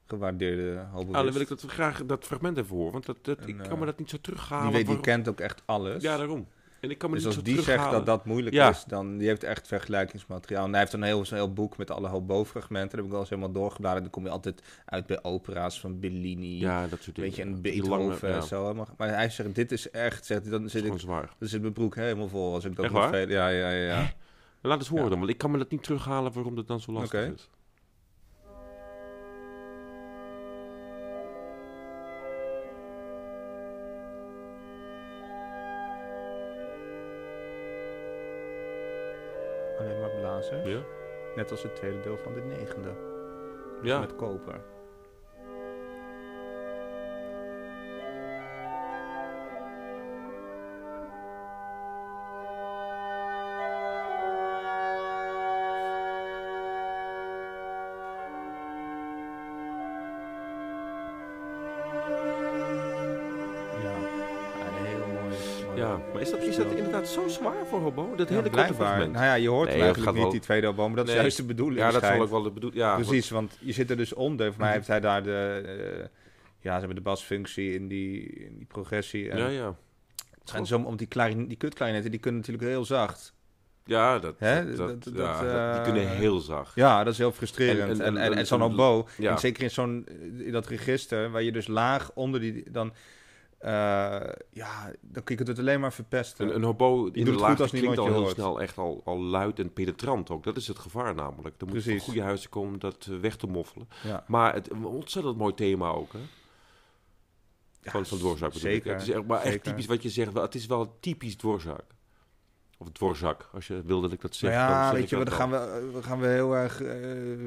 gewaardeerde Ah, dan wil ik hoboïst. dat we graag dat fragment even horen, want dat, dat, ik En, kan eh, me dat niet zo terughalen. die, weet, die waarom- kent ook echt alles. Ja, daarom. En ik kan me dus niet als zo die zegt dat terughalen. dat moeilijk Ja. is, dan die heeft echt vergelijkingsmateriaal. En hij heeft een heel, zo'n heel boek met alle hobo-fragmenten. Dat heb ik wel eens helemaal doorgebladerd. Dan kom je altijd uit bij opera's van Bellini. Ja, dat soort dingen. Weet je, een Die lange- Beethoven ja, en zo. hè. Maar, maar hij zegt, dit is echt, zegt, hij, dan, dat is zit ik, gewoon zwaar. dan zit mijn broek helemaal vol. Als ik dat Echt nog waar? veel- Ja, ja, ja. ja. Laat eens horen Ja. dan, want ik kan me dat niet terughalen waarom dat dan zo lastig Oké. is. Alleen maar blazen. Ja? Net als het tweede deel van de negende. Ja, Met koper. Ja, een heel mooi. mooi ja. maar is dat, is dat inderdaad zo zwaar voor Hobo? Dat Ja, hele korte blijkbaar. fragment. Nou ja, je hoort Nee, hem dat eigenlijk gaat niet, wel- die tweede album. Maar dat Nee, is juist de bedoeling. ja, dat zal schijnt. ook wel bedoeld. Ja, Precies, want je zit er dus onder. Voor mij Mhm. heeft hij daar de... eh, ja, ze hebben de basfunctie in die, in die progressie. En Ja, ja. het schijnt zo, om die, klarin, die kutkleinetten, die kunnen natuurlijk heel zacht. Ja, dat, Hè? dat, Dat- dat- dat, ja, dat- die kunnen eh, heel zacht. Ja, dat is heel frustrerend. En, En- en, en- en, en- en zo'n en- oboe, ja. en zeker in, zo'n, in dat register, waar je dus laag onder die... Dan, eh, ja, dan kun je het alleen maar verpesten. Een, een hobo in Eh, doet de het goed laag als klinkt niemand al je heel hoort. snel echt al, al luid en penetrant ook. Dat is het gevaar namelijk. Er moet van Precies. goede huizen komen om dat eh, weg te moffelen. ja. Maar het, een ontzettend mooi thema ook, hè? Van, van dwarszaak bedoel ik. zeker, Het is echt, maar echt zeker. typisch wat je zegt. wel, Het is wel typisch dwarszaak. Of dwarzak, als je wilde dat ik dat zeg. Nou dan ja, zeg weet ik je, wel, dat dan wel. gaan we, we gaan we heel erg eh,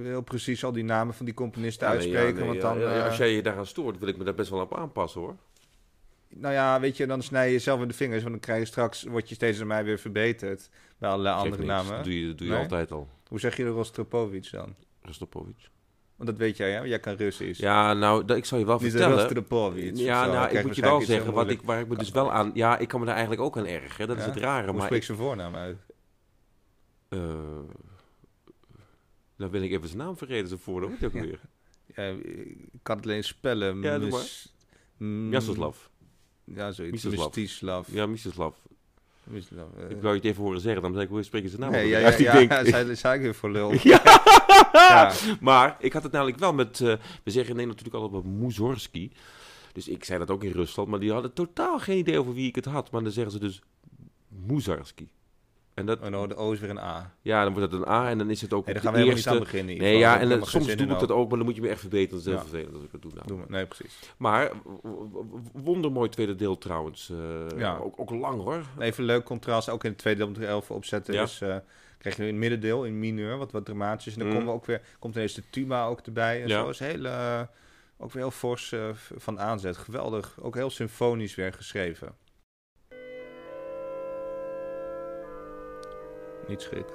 heel precies al die namen van die componisten Ja, nee, ja, uitspreken. nee, want ja, dan, ja, ja, eh, als jij je daaraan stoort, wil ik me daar best wel op aanpassen, hoor. nou ja, weet je, dan snij je jezelf in de vingers. Want dan krijg je straks, word je steeds door mij weer verbeterd bij allerlei Zeg andere niks. namen. Dat doe je, dat doe je Nee. altijd al. Hoe zeg je de Rostropovich dan? Rostropovich. Want dat weet jij, hè? Jij kan Russisch. Ja, nou, dat, ik zal je wel Niet de vertellen... Rostropovich. Ja, of zo. nou, Dan ik krijg moet je wel waarschijnlijk iets zeggen, heel wat ik, moeilijk. waar ik me Kan dus wel wel. aan... Ja, ik kan me daar eigenlijk ook aan ergeren. Dat is Ja? het rare, Hoe maar... spreek Ik, je zijn voornaam uit? eh, nou ben ik even zijn naam vergeten, zijn voornaam. Wat is die ook weer? Ja, ik kan het alleen spellen. Ja, doe maar. Mis- Mm, Jasoslav. Ja, zoiets. Mistislav. Mistislav. Ja, Mislav. Mistislav, eh. Ik wou je het even horen zeggen, dan zei ik, hoe nou? spreek je zijn naam? Nee, ook ja, weer ja, uit? Ik ja, denk- ja, zei, zei ik weer voor lul. Ja. Ja. Maar ik had het namelijk wel met... eh, we zeggen in Nederland natuurlijk altijd wel Muzorski. Dus ik zei dat ook in Rusland. Maar die hadden totaal geen idee over wie ik het had. Maar dan zeggen ze dus Muzarski. En dat, Oh, nou, de O is weer een A. ja, dan wordt dat een A en dan is het ook Nee, daar de gaan we helemaal niet eerste- aan beginnen. in ieder Nee, geval. ja, Ik en heb dat- er geen soms zin doe in ik dat ook, maar dan moet je me echt verbeteren. Dat is heel Ja. vervelend als ik dat doe. Nou. Doe maar. Nee, precies. Maar, w- w- wondermooi tweede deel trouwens. eh, Ja. ook, ook lang hoor. Even een leuk contrast, ook in het tweede deel moet ik er elf opzetten. Ja. Dus eh, krijg je in het middendeel, in mineur, wat wat dramatisch. is. En dan Mm. komen we ook weer, komt ineens de tuba ook erbij. En Ja. zo is heel, eh, ook weer heel fors eh, v- van aanzet. Geweldig. Ook heel symfonisch weer geschreven. Niet schrik.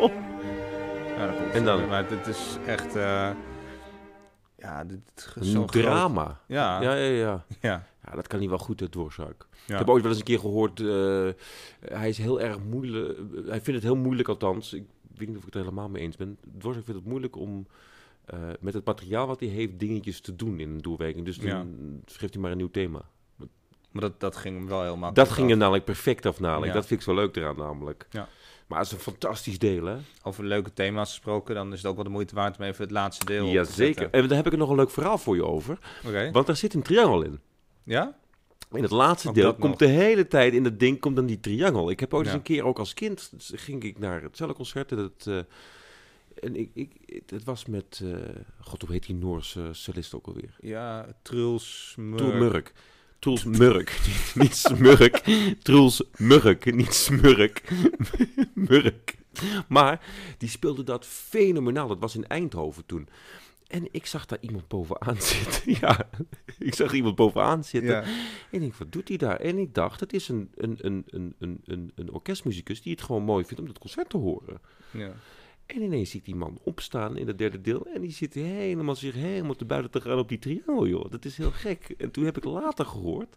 Ja, dat komt En dan? goed. Maar dit is echt... eh, ja, dit is Een zo'n groot- drama. Ja, Ja, ja. ja, ja. ja. Ja, dat kan niet wel goed, het doorzaak. Ik heb ooit wel eens een keer gehoord, eh, hij is heel erg moeilijk, eh, hij vindt het heel moeilijk althans, ik weet niet of ik het er helemaal mee eens ben. Dvorak vindt het moeilijk om eh, met het materiaal wat hij heeft dingetjes te doen in een doelwerking. Dus dan Ja. schreef hij maar een nieuw thema. Maar dat, dat ging hem wel heel makkelijk. Dat ging af. er namelijk perfect af Ja. namelijk, dat vind ik zo leuk eraan namelijk. Ja. Maar het is een fantastisch deel hè? Over leuke thema's gesproken, dan is het ook wel de moeite waard om even het laatste deel op te Jazeker. zetten. En daar heb ik er nog een leuk verhaal voor je over, Oké. want daar zit een triangel in. Ja? In het laatste Ook deel dat komt nog. de hele tijd in het ding komt dan die triangel. Ik heb ooit eens Ja. een keer ook als kind s- ging ik naar het cellenconcert en dat eh, en ik, ik het was met eh, god hoe heet die Noorse cellist ook alweer? Ja, Truls Murk. Troels Murk. Troels Murk, Niet- niet Smurk. Troels Murk, niet Smurk. Murk. Maar die speelde dat fenomenaal. Dat was in Eindhoven toen. En ik zag daar iemand bovenaan zitten. Ja, ik zag iemand bovenaan zitten. Ja. En ik denk, wat doet hij daar? En ik dacht, het is een, een, een, een, een, een, een orkestmuzikus die het gewoon mooi vindt om dat concert te horen. ja. En ineens zie ik die man opstaan in het derde deel. En die zit helemaal zich helemaal te buiten te gaan op die triangel, joh. Dat is heel gek. En toen heb ik later gehoord.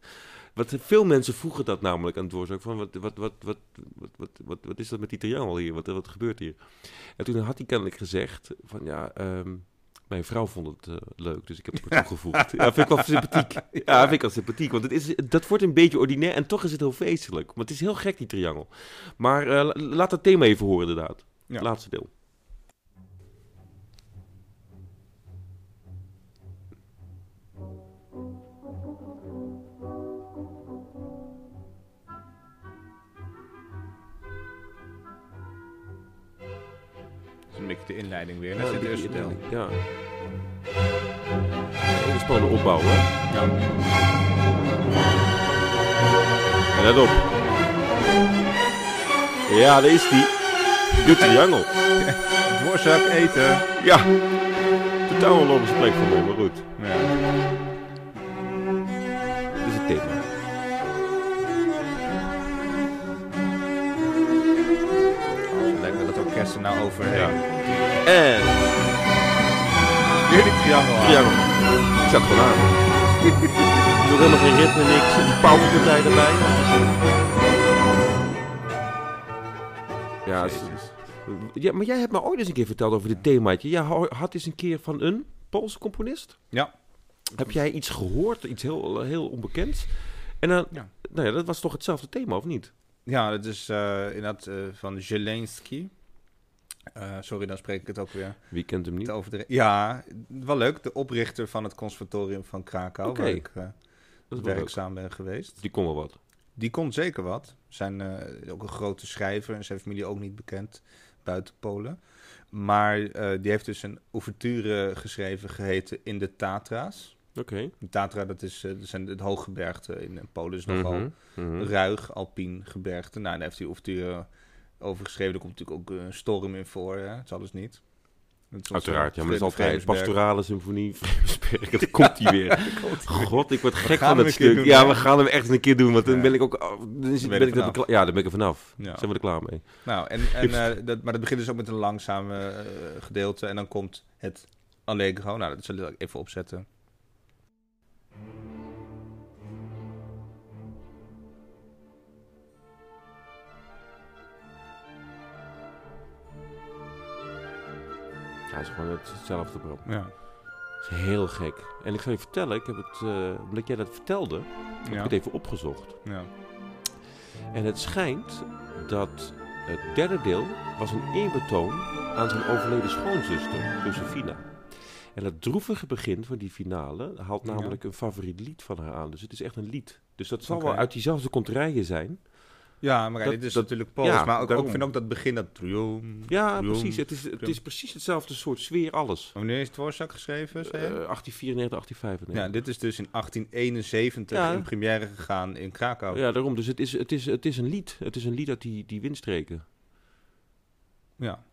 Wat veel mensen vroegen dat namelijk aan het doorzoek. Van wat, wat, wat, wat, wat, wat, wat, wat is dat met die triangel hier? Wat, wat gebeurt hier? En toen had hij kennelijk gezegd: van ja. ehm, mijn vrouw vond het eh, leuk, dus ik heb het er toegevoegd. Ja, vind ik wel sympathiek. Ja, vind ik wel sympathiek. Want het is, dat wordt een beetje ordinair en toch is het heel feestelijk. Want het is heel gek, die triangel. Maar eh, la- laat het thema even horen, inderdaad. Ja. Laatste deel. Dat is een beetje de inleiding weer. Net in het dus- eerste deel. Ja. Hele spannende opbouw, hè? Ja. En let op. Ja, daar is die. De triangel. Dwarszak eten. Ja. Totaal onlogische plek voor mij, maar goed. Ja. Dit is het thema. Oh, lekker dat orkest er nou Ja. overheen. En Weer die triangel aan. triangel. Ik zat gewoon aan. Er is helemaal geen ritme, niks. Een pauwpartij erbij. Ja, is- Jezus. ja, maar jij hebt me ooit eens een keer verteld over dit themaatje. Jij ho- had eens een keer van een Poolse componist. Ja. Heb jij iets gehoord, iets heel, heel onbekends? En dan, Ja. nou ja, dat was toch hetzelfde thema, of niet? Ja, dat is eh, inderdaad eh, van Zelensky. Eh, sorry, dan spreek ik het ook weer. Wie kent hem niet? te overdre- Ja, wel leuk. De oprichter van het Conservatorium van Krakau, Oké. waar ik eh, Dat is wel leuk. werkzaam ben geweest. Die kon wel wat. Die kon zeker wat. Zijn eh, ook een grote schrijver en zijn familie ook niet bekend buiten Polen. Maar eh, die heeft dus een ouverture geschreven geheten In de Tatra's. Oké. De Tatra, dat is eh, dat zijn het hooggebergte in eh, Polen, is nogal Mhm, mhm. ruig, alpien gebergte. Nou, daar heeft hij ouverture over geschreven. Er komt natuurlijk ook eh, een storm in voor, hè? het is alles niet. Het is Uiteraard, ja, maar dat is ontzettend altijd Vreemdsberg. pastorale symfonie. Vreemdsberg, dat komt hij weer. God, ik word gaan gek van hem dat een keer stuk. doen, ja, hè? we gaan hem echt een keer doen, want dan Ja. ben ik ook... oh, Dan is, je ben er ik er vanaf. klaar- ja, dan ben ik er vanaf. Ja. Zijn we er klaar mee. Nou, en, en, eh, dat, maar dat begint dus ook met een langzame eh, gedeelte. En dan komt het Allegro. Nou, dat zal ik even opzetten. Ja, het is gewoon het- hetzelfde bro. Ja. Het is heel gek. En ik zal je vertellen, ik heb het, eh, omdat jij dat vertelde, heb ik Ja. het even opgezocht. ja. En het schijnt dat het derde deel was een eerbetoon aan zijn overleden schoonzuster, Josefina. En dat droevige begin van die finale haalt Ja. namelijk een favoriet lied van haar aan. Dus het is echt een lied. Dus dat zal Oké. wel uit diezelfde kontrijen zijn. Ja, maar kijk, Dat- dit is dat- natuurlijk Pools. ja, maar ook, ook daarom. vind ook dat begin, dat triom. Ja, triom. precies. Het is, het is precies hetzelfde soort sfeer, alles. Wanneer Oh, is Dvorak geschreven, Eh zei je? 1894, 1895. ja, dit is dus in 1871 Ja. in première gegaan in Krakau. Ja. nou. Ja, daarom. Dus het is, het is, het is een lied. Het is een lied uit die, die windstreken. Ja.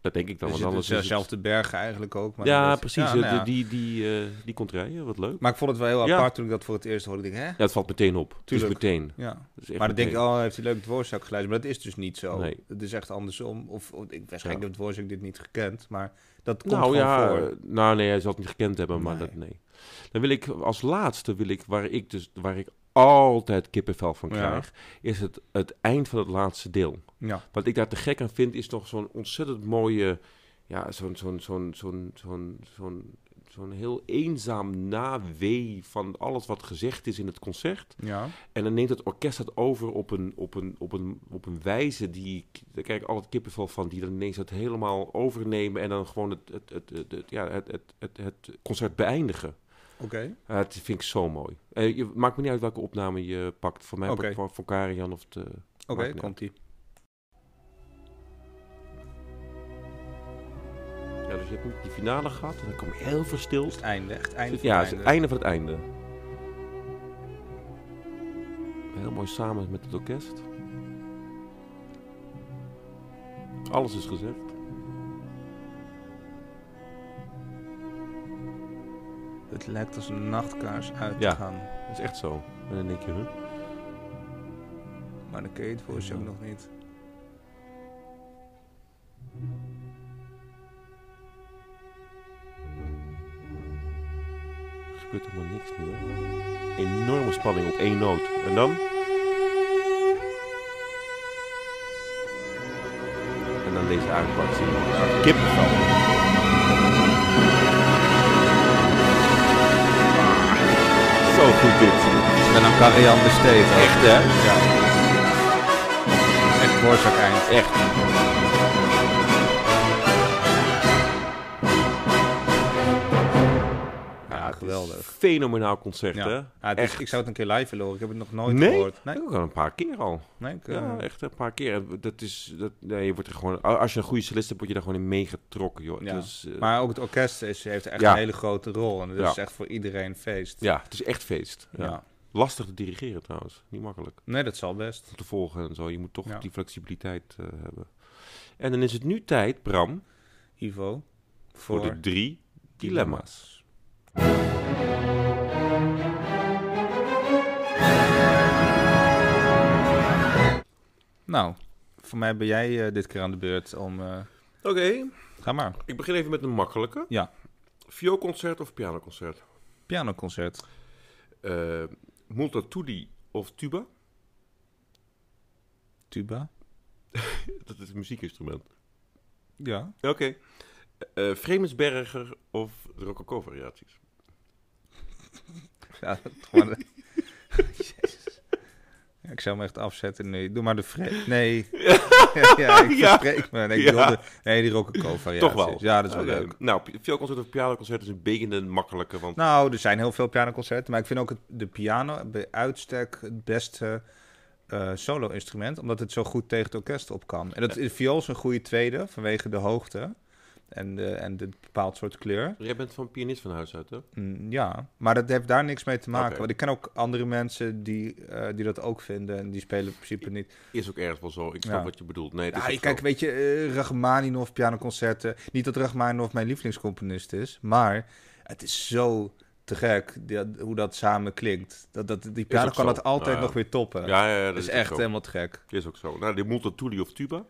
Dat denk ik dan. dus want het is anders is het- dezelfde bergen eigenlijk ook. Maar Ja, dat- precies. ja, eh, nou ja. Die, die, eh, die contraien, wat leuk. Maar ik vond het wel heel Ja. apart toen ik dat voor het eerst hoorde. Ik denk, hè? Ja, het valt meteen op. Het is Tuurlijk. meteen. Ja. Het is echt maar dan denk ik, meteen. oh, heeft hij leuk Dvorak geluisterd. Maar dat is dus niet zo. Nee. Het is echt andersom. Of, of ik, waarschijnlijk Ja. heeft Dvorak dit niet gekend, maar dat komt Nou gewoon ja, voor. eh, nou nee, hij zal het niet gekend hebben, maar Nee. dat nee. Dan wil ik als laatste, wil ik, waar, ik dus, waar ik altijd kippenvel van Ja. krijg, is het, het eind van het laatste deel. Ja, Wat ik daar te gek aan vind, is nog zo'n ontzettend mooie, ja, zo'n zo'n zo'n zo'n zo'n zo'n zo'n heel eenzaam nawee van alles wat gezegd is in het concert. ja. En dan neemt het orkest dat over op een, op een, op een, op een wijze die... ik- Daar krijg ik al het kippenvel van. Die dan ineens dat helemaal overnemen en dan gewoon het, het, het, het, het- ja, het, het, het, het concert beëindigen. Oké. Ah, dat vind ik zo mooi. Eh, je, maakt me niet uit welke opname je pakt. Voor mij Oké. pakt voor, voor Karian of de... Oké, Maakt niet komt-ie. Ja, dus je hebt niet die finale gehad en dan kom je heel verstild. Dus het einde, echt einde van ja, het het is het einde. einde van het einde. Heel mooi samen met het orkest. Alles is gezegd. Het lijkt als een nachtkaars uit Ja. te gaan. Dat is echt zo. En dan denk je, huh? Maar dan ken je het Dvorak Ja. nog niet. gebeurt helemaal niks nu. Hè? Enorme spanning op één noot. En dan? En dan deze uitpakking. Kippenvel. Zo goed dit. En dan kan Rian besteed. Echt hè? Ja. Dat is echt Dvorak eind. Echt. Ja, geweldig. Fenomenaal concert Ja. hè? Ja, het is- ik zou het een keer live willen horen. Ik heb het nog nooit Nee? gehoord. Nee? Ook al een paar keer al. Nee, ik, eh, Ja, echt een paar keer. En Dat is, dat, nee, je wordt er gewoon, als je een goede solist hebt, word je daar gewoon in meegetrokken, joh. Ja. Het is, eh, Maar ook het orkest is, heeft echt Ja. een hele grote rol. En dat Ja. is echt voor iedereen feest. ja, het is echt feest. Ja. Ja. Lastig te dirigeren trouwens, niet makkelijk. Nee, dat zal best. Om te volgen en zo, je moet toch Ja. die flexibiliteit eh, hebben. En dan is het nu tijd, Bram, Ivo. voor, de drie dilemma's. Nou, voor mij ben jij eh, dit keer aan de beurt om... eh, Oké, ga maar. ik begin even met een makkelijke. Ja. Vioolconcert of pianoconcert? Pianoconcert. Eh Multatuli of tuba? Tuba. Dat is een muziekinstrument. Ja. Oké. Eh, Vremensberger of Rococo-variaties? ja gewoon de- Jezus. Ja, ik zou hem echt afzetten. Nee, doe maar de fret. Nee. ja, ik Ja. verspreek me. Nee, ik Ja. wilde... nee die rococo variaties. Toch wel? Ja, dat is wel Oké. leuk. Nou, pi- vioolconcert of pianoconcert is een beetje een makkelijke, want... Nou, er zijn heel veel pianoconcerten. Maar ik vind ook het, de piano bij uitstek het beste eh, solo-instrument. Omdat het zo goed tegen het orkest op kan. En dat is viool is een goede tweede vanwege de hoogte. En, de, en de bepaald soort kleur. Jij bent van pianist van huis uit, hè? Mm, ja, maar dat heeft daar niks mee te maken. Oké. Want ik ken ook andere mensen die, eh, die dat ook vinden. En die spelen in principe niet. Is ook ergens wel zo. Ik snap Ja. wat je bedoelt. Nee, het is Ja, ook kijk, zo. weet je, eh Rachmaninoff pianoconcerten. Niet dat Rachmaninoff mijn lievelingscomponist is, maar het is zo te gek die- hoe dat samen klinkt. Dat, dat, die piano ook kan zo. dat altijd Ja. nog weer toppen. Ja, ja, ja, dat dat is ook echt Eh, zo. helemaal te gek. Is ook zo. Nou, de Multatuli of tuba,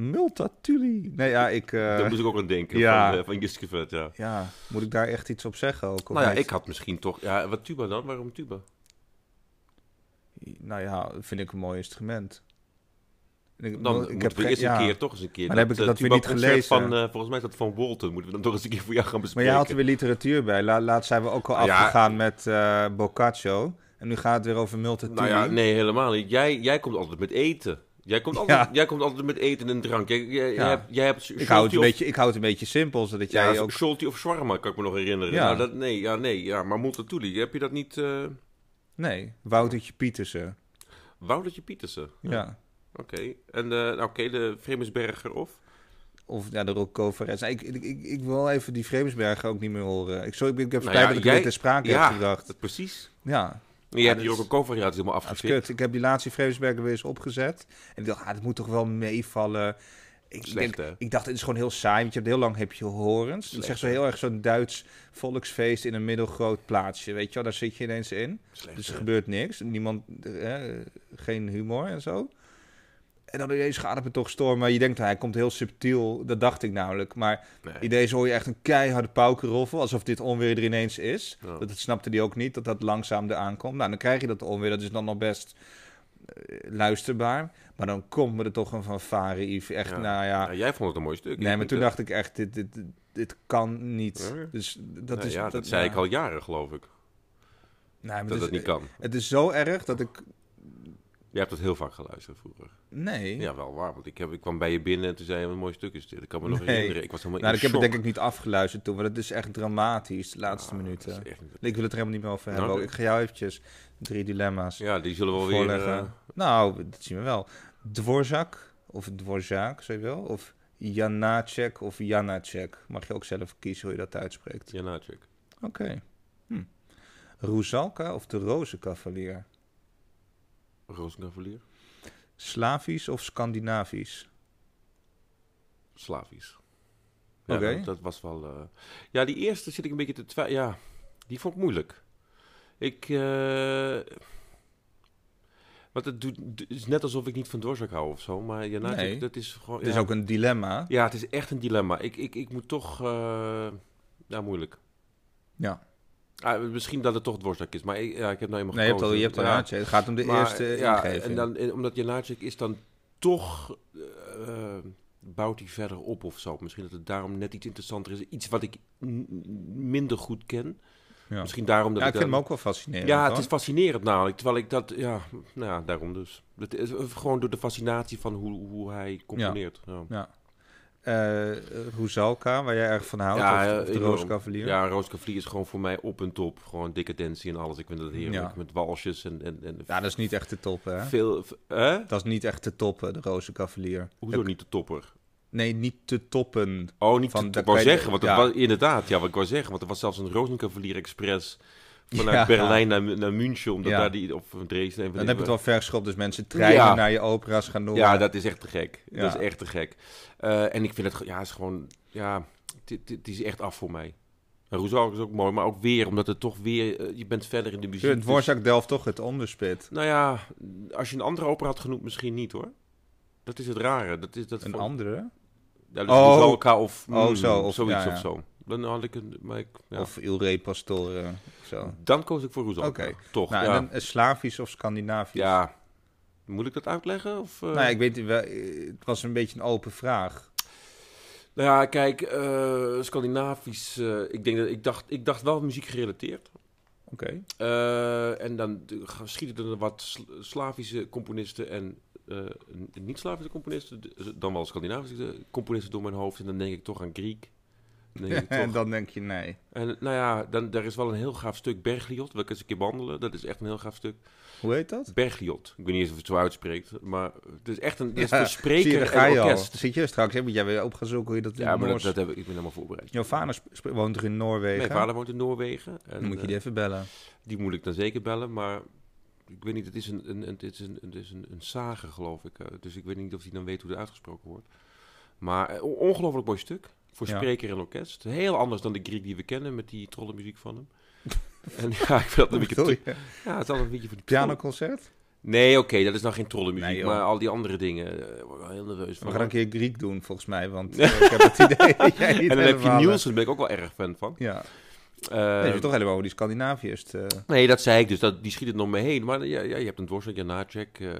Multatuli. Nee, ja, ik... eh, daar moet ik ook aan denken. ja. Van, eh, van Jiskevet, ja. ja, moet ik daar echt iets op zeggen ook? of Nou ja, niet? ik had misschien toch... Ja, wat tuba dan? Waarom tuba? Nou ja, vind ik een mooi instrument. En Nou, Ik, Dan moeten we geen- eerst ja. een keer, toch eens een keer... Maar dan heb ik eh, dat weer niet tuba-concert gelezen. Van, eh, volgens mij is dat van Walton. Moeten we dan toch eens een keer voor jou gaan Maar bespreken. jij had er weer literatuur bij. La- laatst zijn we ook al Nou ja. afgegaan met eh, Boccaccio. En nu gaat het weer over Multatuli. Nou ja, nee, helemaal niet. Jij, jij komt altijd met eten. Jij komt altijd, jij komt altijd met eten en drank. Jij, jij, jij Ja. hebt, jij hebt Ik hou, het Scholti een of- beetje, ik hou het een beetje simpel, zodat Ja, jij ook... ook... Scholti of shawarma, kan ik me nog herinneren. Ja. Nou, dat, nee, ja, nee, ja, maar Multatuli, heb je dat niet... eh Nee, Woutertje Pietersen. Woutertje Pietersen? Ja. Oké, en eh, nou, oké, de Vremensberger of? Of ja, de Rocco Verres. Nou, ik, ik, ik, ik wil even die Vreemsbergen ook niet meer horen. Ik, sorry, ik, ik heb Nou spijt ja, dat ik jij- dit ter sprake heb gebracht. dat, precies. Ja, En jij hebt die dat is- Rococo-variatie helemaal dat is afgeschikt. kut. Ik heb die laatste Vreemsbergen weer eens opgezet. En ik dacht, ah, dat moet toch wel meevallen. Ik, ik Slecht, denk- hè? ik dacht, het is gewoon heel saai, want je hebt heel lang heb je horens. Het Slecht, is echt zo hè? heel erg zo'n Duits volksfeest in een middelgroot plaatsje. Weet je wel, daar zit je ineens in. Slecht, Dus er hè? gebeurt niks. Niemand, eh, geen humor en zo. En dan ineens gaat het me toch storm. Maar je denkt, hij komt heel subtiel. Dat dacht ik namelijk. Maar Nee. ineens hoor je echt een keiharde paukenroffel. Alsof dit onweer er ineens is. Ja. Dat, dat snapte die ook niet, dat dat langzaam eraan komt. Nou, dan krijg je dat onweer. Dat is dan nog best eh, luisterbaar. Maar dan komt me er toch een fanfare, Yves. Echt, Ja. nou ja. Nou, jij vond het een mooi stuk. Nee, maar toen dat, dacht ik echt, dit, dit, dit, dit kan niet. Ja. Dus dat nou is... ja, dat, zei ja. dus- ik al jaren, geloof ik. Nee, maar Dat het dat is- niet kan. Het is zo erg dat ik... Jij hebt dat heel vaak geluisterd vroeger. Nee. Ja, wel waar. Want ik, heb, ik kwam bij je binnen en toen zei je, wat een mooi stuk is dit. Ik kan me nog Nee. herinneren. Ik was helemaal Nou, in ik heb het shock. denk ik niet afgeluisterd toen, maar dat is echt dramatisch, de laatste Ah, minuten. dat is echt niet- Ik wil het er helemaal niet meer over hebben. Nou, ook. Ik ga jou eventjes drie dilemma's Ja, die zullen we wel weer... voorleggen. eh, Nou, dat zien we wel. Dvorak, of Dvorak, zo je wel, of Janacek of Janacek. Mag je ook zelf kiezen hoe je dat uitspreekt. ja, nou, check. Oké. Hm. Roesalka of de Rozenkavalier? Rozenkavalier? Slavisch of Scandinavisch? Slavisch. Ja, Oké. dat, dat was wel... eh, Ja, die eerste zit ik een beetje te twijfelen. Ja, die vond ik moeilijk. Ik... eh, Want het, doet, het is net alsof ik niet van doorzak hou of zo. Maar ja, nou, Nee. dat is gewoon... Het is ja. ook een dilemma. Ja, het is echt een dilemma. Ik, ik, ik moet toch... eh, Ja, moeilijk. Ja. Ah, misschien dat het toch dwarsdak is, maar ik, ja, ik heb nou eenmaal Nee, je hebt al, gekozen. je hebt al Ja. een haartje. Het gaat om de Maar, eerste ja, ingeving. En dan, en omdat Janacek is dan toch... eh, eh, bouwt hij verder op of zo. Misschien dat het daarom net iets interessanter is. Iets wat ik n- minder goed ken. ja. Misschien daarom dat Ja, ik ik... vind hem dan- ook wel fascinerend. ja, het hoor. is fascinerend namelijk. Terwijl ik dat... Ja, nou ja, daarom dus. Het is gewoon door de fascinatie van hoe, hoe hij componeert. Ja, Eh, Roesalka, waar jij erg van houdt, Ja, of- ja, of, de enorm. Rooskavalier. ja Roos Cavalier is gewoon voor mij op en top. Gewoon decadentie en alles. Ik vind dat heerlijk. Ja. Met walsjes en... en, en Ja, dat is niet echt te toppen, hè? veel... Hè? Dat is niet echt te toppen, de Rooskavalier. Hoezo niet de topper? Nee, niet te toppen. Oh, niet Van, te, dat ik wou kan je- zeggen, want het ja. was, inderdaad, ja, wat ik wou zeggen, want er was zelfs een Rosenkavalier Express vanuit Ja. Berlijn naar, naar München, omdat Ja. daar die, of Dresden, even Dan heb je het wel ver geschopt, dus mensen treinen Ja. naar je opera's gaan Dus doen. Ja, dat is echt te gek. Ja. Dat is echt te gek. Eh, en ik vind het, ge- ja, het is gewoon, ja, dit, dit is echt af voor mij. En Roezal is ook mooi, maar ook weer, omdat het toch weer, eh, je bent verder in de muziek. Het dus- Dvorak delft toch het onderspit. nou ja, als je een andere opera had genoemd, misschien niet hoor. Dat is het rare. Dat is, dat Een voor- andere? Ja, dus Oh. Roezalka of, Oh, mm, zo, of- zoiets ja, ja. of zo. Dan had ik een, maar ik, ja. Of Il Re Pastore of zo. Dan koos ik voor Roezal. Oh. Oké. Toch, nou, ja. en dan eh, Slavisch of Scandinavisch? ja. Moet ik dat uitleggen? Of, eh? Nou, ja, ik weet wel, eh, het was een beetje een open vraag. Nou ja, kijk, eh, Scandinavisch. eh, ik, denk dat, ik, dacht, ik dacht wel muziek gerelateerd. Oké. Eh, en dan eh, gaan- schieten er wat Sl- Slavische componisten en eh, n- niet-Slavische componisten, d- dan wel Scandinavische componisten door mijn hoofd. En dan denk ik toch aan Griek. Dan denk ik toch- en dan denk je nee. En nou ja, dan, daar is wel een heel gaaf stuk Bergliot. Wil ik eens een keer behandelen. Dat is echt een heel gaaf stuk. Hoe heet dat? Bergliot. Ik weet niet eens of het zo uitspreekt, maar het is echt een het is Ja, voor Zie je, spreker daar ga en je al. orkest. Zit je er straks, hè? Moet jij weer op gaan zoeken hoe je dat in Ja, maar dat, Noors... dat heb ik, ik ben helemaal voorbereid. Jovana sp- sp- woont er in Noorwegen. Mijn vader woont in Noorwegen. En, Dan moet je die eh, even bellen. die moet ik dan zeker bellen, maar ik weet niet, het is een, een, het is een, het is een, een sage, geloof ik. eh, dus ik weet niet of hij dan weet hoe het uitgesproken wordt. Maar eh, on- ongelooflijk mooi stuk. Voor Ja. spreker en orkest. Heel anders dan de Griek die we kennen met die trollenmuziek van hem. en ja, ik vind dat een beetje... Oh, Sorry. te- Ja, het is al een beetje van die trollen- Pianoconcert? Nee, oké, dat is nou geen trollenmuziek, Nee, joh. maar al die andere dingen. eh, ik word wel heel nerveus van. We gaan een keer Griek doen, volgens mij. Want eh, ik heb het idee dat jij niet en dan heb je helemaal- eh, Nielsen, daar ben ik ook wel erg fan van. Ja, Eh, Nee, je hebt toch helemaal over die Scandinaviërs. te- Nee, dat zei ik dus. Dat, die schiet het nog mee heen. Maar ja, ja, je hebt een dwarstek, een nacheck, eh,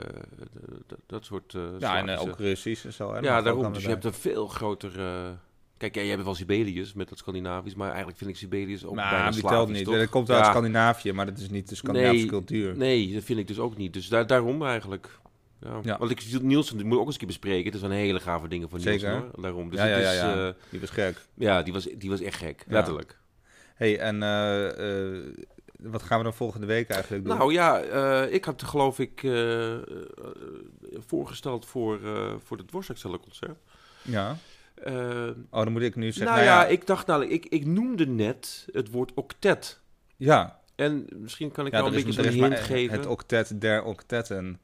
dat, dat soort... eh, ja, en eh, Slavische- ook Russisch en zo. Hè? ja, Dat mag ook daarom. allemaal Dus je bij. hebt een veel groter... eh, Kijk, ja, jij hebt wel Sibelius met dat Scandinavisch. Maar eigenlijk vind ik Sibelius ook Nou, bijna die Slavisch, telt niet. toch? Dat komt uit Ja, Scandinavië, maar dat is niet de Scandinavische Nee, cultuur. Nee, dat vind ik dus ook niet. Dus daar, daarom eigenlijk... Ja. Ja. Want ik, Nielsen, die moet ik ook eens een keer bespreken. Het zijn hele gave dingen van Zeker. Nielsen, hoor. Daarom. Dus Ja, ja, het ja, is, ja. eh, Die was gek. ja, die was, die was echt gek. Ja. Letterlijk. hey, en eh, eh, wat gaan we dan volgende week eigenlijk doen? Nou ja, eh, ik had geloof ik eh, eh, voorgesteld voor, eh, voor het Dwarsaxcellenconcert. ja. Eh Oh, dan moet ik nu zeggen. nou ja, ik dacht namelijk, ik, ik noemde net het woord octet. ja. En misschien kan ik Ja, nou er een is, beetje er een is hint maar geven. het octet der octetten.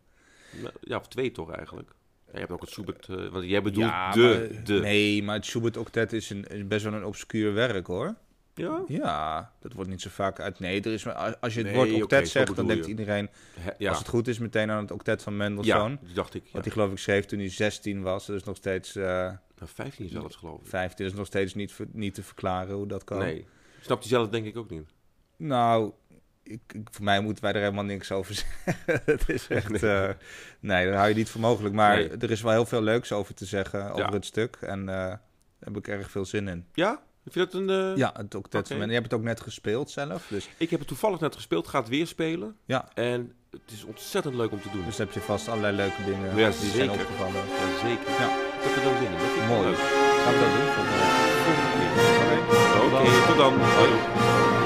Nou, ja, of twee toch eigenlijk. Ja, je hebt ook het Schubert, eh, want jij bedoelt Ja, de, maar- de. Nee, maar het Schubert octet is, een, is best wel een obscuur werk, hoor. Ja? Ja, dat wordt niet zo vaak uit. Nee, er is maar, als- als je het Nee, woord oké, octet zo zegt, dan bedoel denkt je. iedereen, He- ja. als het goed is, meteen aan het octet van ja, Mendelssohn. die dacht ik. Ja. Wat hij geloof ik schreef toen hij 16 was. Dat is nog steeds eh Nou, 15 zelfs geloof ik. 15. Dat is nog steeds niet, ver- niet te verklaren hoe dat kan. Nee, snapt hij zelf denk ik ook niet. Nou, ik, ik- voor mij moeten wij er helemaal niks over zeggen. Het is echt... eh, Nee. dat hou je niet voor mogelijk. Maar Nee. er is wel heel veel leuks over te zeggen, over Ja. het stuk. En eh, daar heb ik erg veel zin in. Ja? Heb je dat een... eh, Ja, het octet. Oké. van Mendelssohn. Je hebt het ook net gespeeld zelf. Dus, Ik heb het toevallig net gespeeld, ga het weer spelen. Ja. En het is ontzettend leuk om te doen. dus heb je vast allerlei leuke dingen Ja, die zijn zeker. opgevallen. Ja, zeker. Ja. Ik heb er dan zin in. Dat vind ik Mooi. leuk. Gaan we dat doen volgende week? Volgende keer. Oké. Oké, tot dan. Hoi.